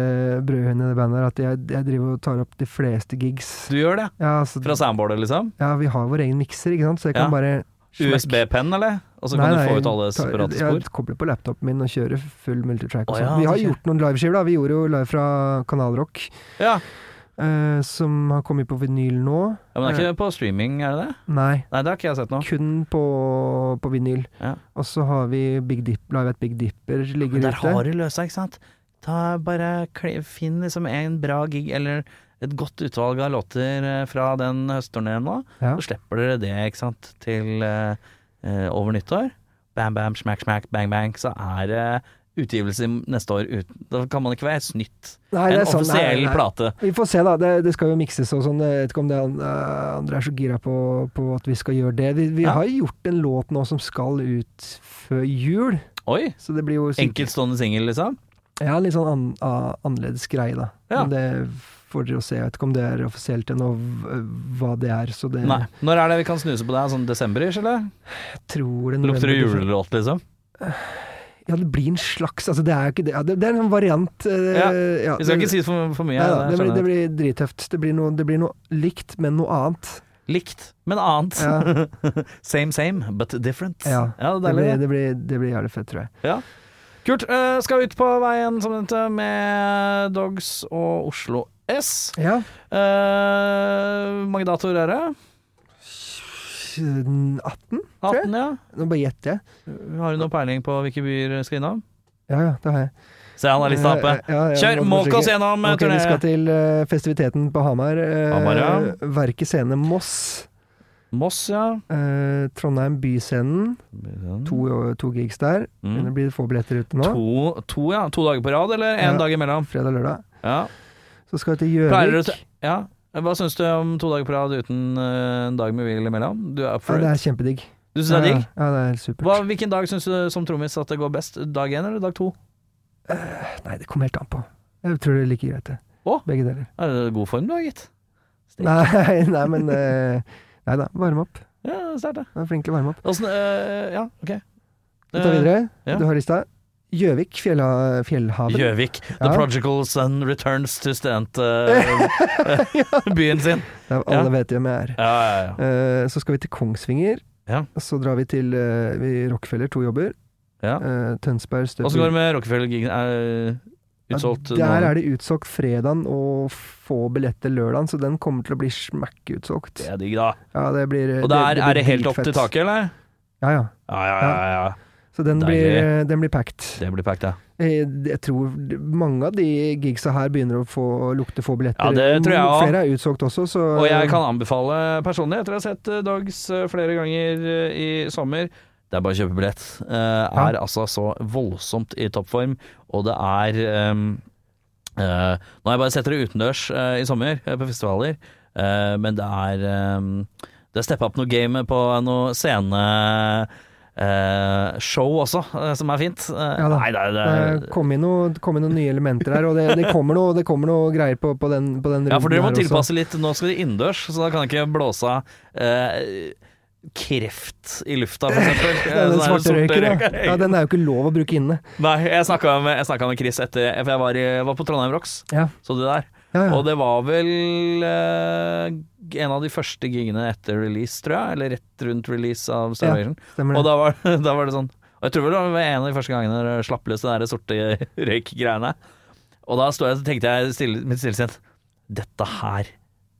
S1: brødhøyene i det bandet, her, at jeg, jeg driver og tar opp de fleste gigs.
S2: Du gjør det.
S1: Ja, altså,
S2: Fra soundboardet, liksom.
S1: ja vi har vår egen mikser, ikke sant, så jeg kan
S2: Ja.
S1: bare
S2: USB-penn, eller? Og så kan du få ut alle separate spor.
S1: Jeg kobler på laptopen min og kjører full multitrack. Og
S2: Å,
S1: sånn.
S2: ja,
S1: vi har
S2: det skjer.
S1: gjort noen liveskiver, da. Vi gjorde jo live fra Kanal Rock,
S2: Ja.
S1: eh, som har kommet på vinyl nå.
S2: ja, Men det er ikke på streaming, er det det?
S1: Nei,
S2: Nei, det har ikke jeg sett nå.
S1: kun på, på vinyl.
S2: Ja.
S1: Og så har vi Big Dip, Live at Big Dipper ligger
S2: Men
S1: ute.
S2: der har du løsa, ikke sant? Ta bare kli- Finn liksom en bra gig eller et godt utvalg av låter eh, fra den høstturneen nå,
S1: Ja.
S2: så slipper dere det, ikke sant, til eh, eh, over nyttår. Bam, bam, smack, smack, bang, bang, så er det utgivelse neste år uten Da kan man ikke være snytt.
S1: Nei, det
S2: en
S1: er sant. Nei,
S2: offisiell
S1: nei.
S2: plate.
S1: Vi får se, da. Det, det skal jo mikses og sånn. Jeg vet ikke om det er, eh, andre er så gira på, på at vi skal gjøre det. Vi, vi
S2: Ja.
S1: har gjort en låt nå som skal ut før jul,
S2: Oi!
S1: så det blir jo sikkert-
S2: Enkeltstående singel, liksom.
S1: Ja, en litt sånn an, a- annerledes greie, da.
S2: Ja.
S1: Men det får dere jo se. Jeg vet ikke om det er offisielt ennå, v- hva det er. Så det
S2: Nei. Når er det vi kan snuse på det? Sånn desemberish, eller?
S1: jeg tror det
S2: Lukter det
S1: november-
S2: julelåt, liksom?
S1: Ja, det blir en slags altså Det er jo ikke det. Ja, det, det er en sånn variant. eh,
S2: Ja,
S1: ja,
S2: Vi skal
S1: det-
S2: ikke si for, for mye.
S1: Nei da,
S2: jeg
S1: det, blir,
S2: skjønner.
S1: det blir drittøft. Det blir, noe, det blir noe likt, men noe annet.
S2: Likt, men annet.
S1: Ja.
S2: same, same, but different.
S1: Ja,
S2: det
S1: Det
S2: er
S1: blir,
S2: deilig.
S1: det blir, det blir jævlig fett, tror jeg.
S2: Ja. Kult. eh, skal ut på veien som nevnt med Dogs og Oslo S.
S1: Ja.
S2: Eh, mange datoer er det?
S1: 18?
S2: 18, ja.
S1: Nå bare gjetter jeg.
S2: Har du noe peiling på hvilke byer du skal innom?
S1: Ja ja, det har jeg.
S2: Se, han er lista oppe.
S1: Eh, ja, ja,
S2: Kjør!
S1: må- må
S2: Måk oss
S1: sjekke.
S2: gjennom eh,
S1: Ok, vi skal
S2: turné.
S1: til eh, festiviteten på Hamar. eh,
S2: Hamar, ja.
S1: Verket scene Moss.
S2: Moss, ja.
S1: eh, Trondheim Byscenen.
S2: To,
S1: To, eh, to gigs der. Det
S2: mm.
S1: blir få billetter ute nå.
S2: to, to, ja. to dager på rad, eller én
S1: Ja.
S2: dag imellom?
S1: Fredag lørdag.
S2: Ja.
S1: Så skal vi til
S2: Pleier du
S1: Gjøvik.
S2: til- ja. Hva syns du om to dager på rad uten eh, en dag med hvil imellom? Du er up
S1: Ja,
S2: for
S1: det
S2: it?
S1: er kjempedigg.
S2: Du syns det er digg?
S1: Ja, ja, det er supert.
S2: Hva, hvilken dag syns du som trommis at det går best? Dag én eller dag to?
S1: Eh, Nei, det kommer helt an på. Jeg tror det er like greit, det.
S2: Å?
S1: Begge deler.
S2: Er det god form du har, gitt? Stikk.
S1: Nei, nei men eh, Nei da, varme opp.
S2: Ja, sterkt, det.
S1: Jeg er flink til å varme opp.
S2: Åssen øh, Ja, ok.
S1: Vi tar videre.
S2: Eh, ja.
S1: Du har lista. Gjøvik, fjellha,
S2: Eh,
S1: Fjellhaven.
S2: Gjøvik. The
S1: Ja.
S2: Prodigal Son returns to studentbyen byen sin.
S1: Der
S2: Ja.
S1: alle vet hvem jeg er.
S2: Ja, ja, ja.
S1: Eh, så skal vi til Kongsvinger.
S2: Ja.
S1: Så drar vi til eh, vi Rockefeller, to jobber.
S2: ja.
S1: Eh, Tønsberg, Støvby.
S2: Åssen går det med Rockefeller-gigen? Er det utsolgt?
S1: Ja, Der
S2: nå?
S1: er det utsolgt fredagen og få billetter lørdagen, så den kommer til å bli smekkutsolgt.
S2: Det er digg, da.
S1: Ja, det blir
S2: Og der
S1: blir
S2: er det helt opp
S1: dritfett.
S2: til taket, eller?
S1: Ja, ja.
S2: Ja, ja, ja. ja.
S1: Så den
S2: Deilig.
S1: blir, eh, den blir packed.
S2: Det blir packed, ja.
S1: Eh, Jeg tror mange av de gigsa her begynner å få, lukte få billetter.
S2: Ja, det tror jeg også.
S1: Flere er utsolgt også, så
S2: Og jeg kan anbefale personlig, etter å ha sett eh, Dogs eh, flere ganger eh, i sommer Det er bare å kjøpe billett. Eh, Er altså så voldsomt i toppform, og det er ehm, eh, Nå har jeg bare sett dere utendørs eh, i sommer, eh, på festivaler, eh, men det er ehm, Det er steppa opp noe game på noe scene... eh, show også, eh, som er fint. Eh,
S1: da.
S2: nei, det er, det er
S1: Det kom inn noe- det kom inn noen nye elementer her, og det, det, kommer, noe, det kommer noe greier på, på den, på den runden
S2: Ja, for dere må
S1: her
S2: tilpasse litt. Nå skal de innendørs, så da kan jeg ikke blåse av eh, kreft i lufta, for eksempel.
S1: også. Det er den
S2: Sånn
S1: svarte røyken, ja.
S2: røyk.
S1: ja. Den er jo ikke lov å bruke inne.
S2: Nei, jeg snakka med, jeg snakket med Chris etter For jeg var, i, var på Trondheim Rocks,
S1: Ja.
S2: så du der.
S1: Ja, ja.
S2: Og det var vel eh, en av de første gigene etter release, tror jeg. Eller rett rundt release av Starvation.
S1: Stemmer
S2: Og
S1: det.
S2: da var, da var det sånn Og jeg tror vel det var en av de første gangene dere slapp løs den der sorte røykgreiene. Og da sto jeg og tenkte jeg stille, mitt stillesinn Dette her,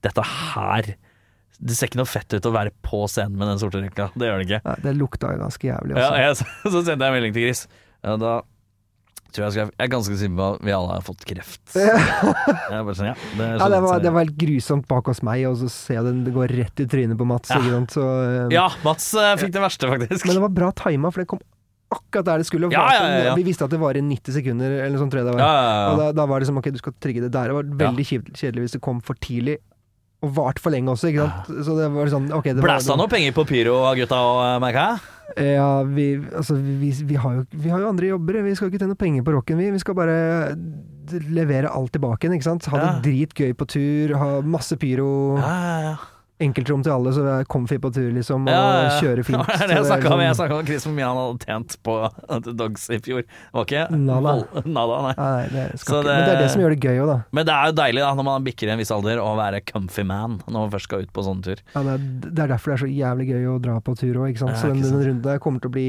S2: dette her Det ser ikke noe fett ut å være på scenen med den sorte røyka. Det gjør det ikke.
S1: Ja, det lukta jo ganske jævlig altså.
S2: Ja,
S1: også.
S2: jeg, så, så sendte jeg en melding til Chris. Ja, da tror jeg, jeg skrev Jeg er ganske sikker på at vi alle har fått kreft. Jeg bare sånn, ja, det, er
S1: Ja,
S2: sånn
S1: det var,
S2: at-
S1: det var helt grusomt bak hos meg, og så ser jeg den det går rett i trynet på Mats.
S2: Ja.
S1: Ikke sant? Så, eh,
S2: ja Mats eh, fikk det verste, faktisk.
S1: Men det var bra tima, for det kom akkurat der det skulle.
S2: Ja, ja, ja, ja.
S1: Vi visste at det varer 90 sekunder, eller sånn tror jeg det var.
S2: Ja, ja, ja.
S1: Og da, da var det liksom, ok, du skal trigge det der. Det var veldig kjipt- kjedelig hvis det kom for tidlig, og vart for lenge også, ikke sant. Så det var sånn, ok. det var-
S2: Blæsta noe penger på pyro av gutta og eh, merka jeg?
S1: Ja, vi, altså, vi, vi, har jo, vi har jo andre jobber. Vi skal ikke tjene penger på rocken, vi. Vi skal bare d- levere alt tilbake igjen, ikke sant. Ha det
S2: Ja.
S1: dritgøy på tur, ha masse pyro,
S2: Ja, ja, ja.
S1: enkeltrom til alle, så vi er comfy på tur, liksom, og
S2: Ja, ja, ja.
S1: kjøre fint.
S2: Det var
S1: Så
S2: det jeg
S1: er
S2: snakka om. Jeg
S1: liksom-
S2: snakket om Chris hvor mye han hadde tjent på Dogs i fjor. Det var ikke
S1: Nada.
S2: vold- Nada, nei.
S1: Nei, nei, det skal
S2: Så
S1: ikke. Men det er
S2: det-
S1: det som gjør det gøy òg, da.
S2: Men det er jo deilig da når man bikker i en viss alder å være comfy man når man først skal ut på sånn tur.
S1: Ja, det, er, det er derfor det er så jævlig gøy å dra på tur òg, ikke sant.
S2: Ja,
S1: så den,
S2: ikke sant.
S1: den runden der kommer til å bli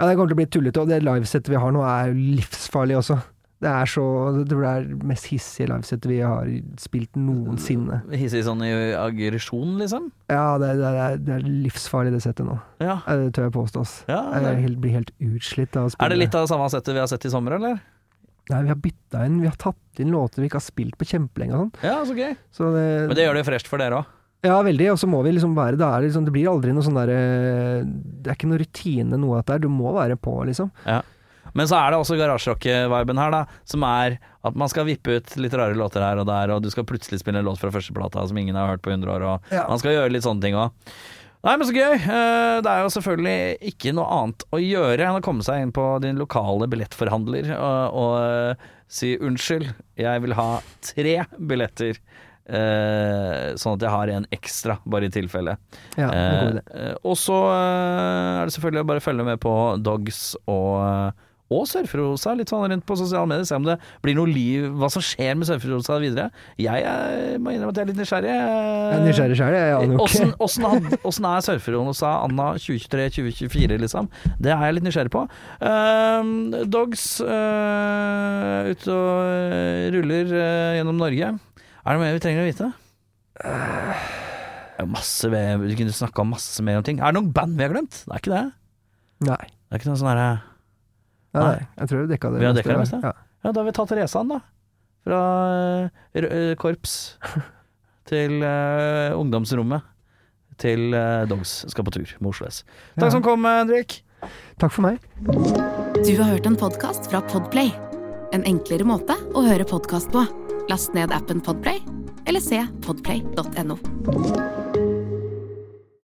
S1: Ja, det kommer til å bli tullete, og det livesettet vi har nå er jo livsfarlig også. Det er så Det tror det er det mest hissige livesettet vi har spilt noensinne.
S2: Hissig sånn i aggresjon, liksom.
S1: Ja, det, det, det, er, det er livsfarlig, det settet nå.
S2: Ja.
S1: Ja, Det tør jeg påstå, ass.
S2: ja
S1: Jeg er
S2: det.
S1: helt, blir helt utslitt av å spille.
S2: Er det litt av det samme settet vi har sett i sommer, eller?
S1: Nei, vi har bytta inn, vi har tatt inn låter vi ikke har spilt på kjempelenge og sånn.
S2: Ja, så gøy.
S1: Så det,
S2: Men det gjør det jo fresht for dere òg.
S1: Ja, veldig. Og så må vi liksom være da er det, liksom, det blir aldri noe sånn derre Det er ikke noe rutine, noe av dette her. Du må være på, liksom.
S2: Men så er det også garasjerock-viben her, da. Som er at man skal vippe ut litt rare låter her og der, og du skal plutselig spille en låt fra førsteplata som ingen har hørt på 100 år, og
S1: Ja.
S2: man skal gjøre litt sånne ting òg. Nei, men så gøy. Eh, Det er jo selvfølgelig ikke noe annet å gjøre enn å komme seg inn på din lokale billettforhandler og, og eh, si unnskyld, jeg vil ha tre billetter. eh, sånn at jeg har en ekstra, bare i tilfelle.
S1: Ja, det er en god idé.
S2: Eh, eh, og så eh, er det selvfølgelig å bare følge med på Dogs og, eh, og Sørfrosa, litt sånn rundt på sosiale medier. Se om det blir noe liv, hva som skjer med Sørfrosa videre. Jeg eh, må innrømme at jeg er litt nysgjerrig.
S1: Jeg er nysgjerrig sjøl, jeg aner
S2: Eh,
S1: jo ikke.
S2: Åssen åssen had- åssen er Sørfrosa Anna 2023-2024, liksom? Det er jeg litt nysgjerrig på. Eh, dogs eh, ute og eh, ruller eh, gjennom Norge. Er det mer vi trenger å vite? Det er Masse mer, du kunne snakka masse mer om ting. Er det noen band vi har glemt? Det er ikke det.
S1: Nei.
S2: Det er ikke noe sånn herre
S1: Nei, nei. Jeg tror vi dekka det.
S2: Vi har
S1: meste,
S2: dekka det
S1: ja.
S2: meste.
S1: Ja.
S2: Ja, da har vi tatt Resan, da. Fra eh, r- eh, korps til eh, ungdomsrommet. Til eh, Dogs skal på tur med Oslo S. Takk
S1: Ja.
S2: som kom, eh, Henrik.
S1: Takk for meg.
S3: Du har hørt en podkast fra Podplay. En enklere måte å høre podkast på. Last ned appen Podplay, eller se podplay.no.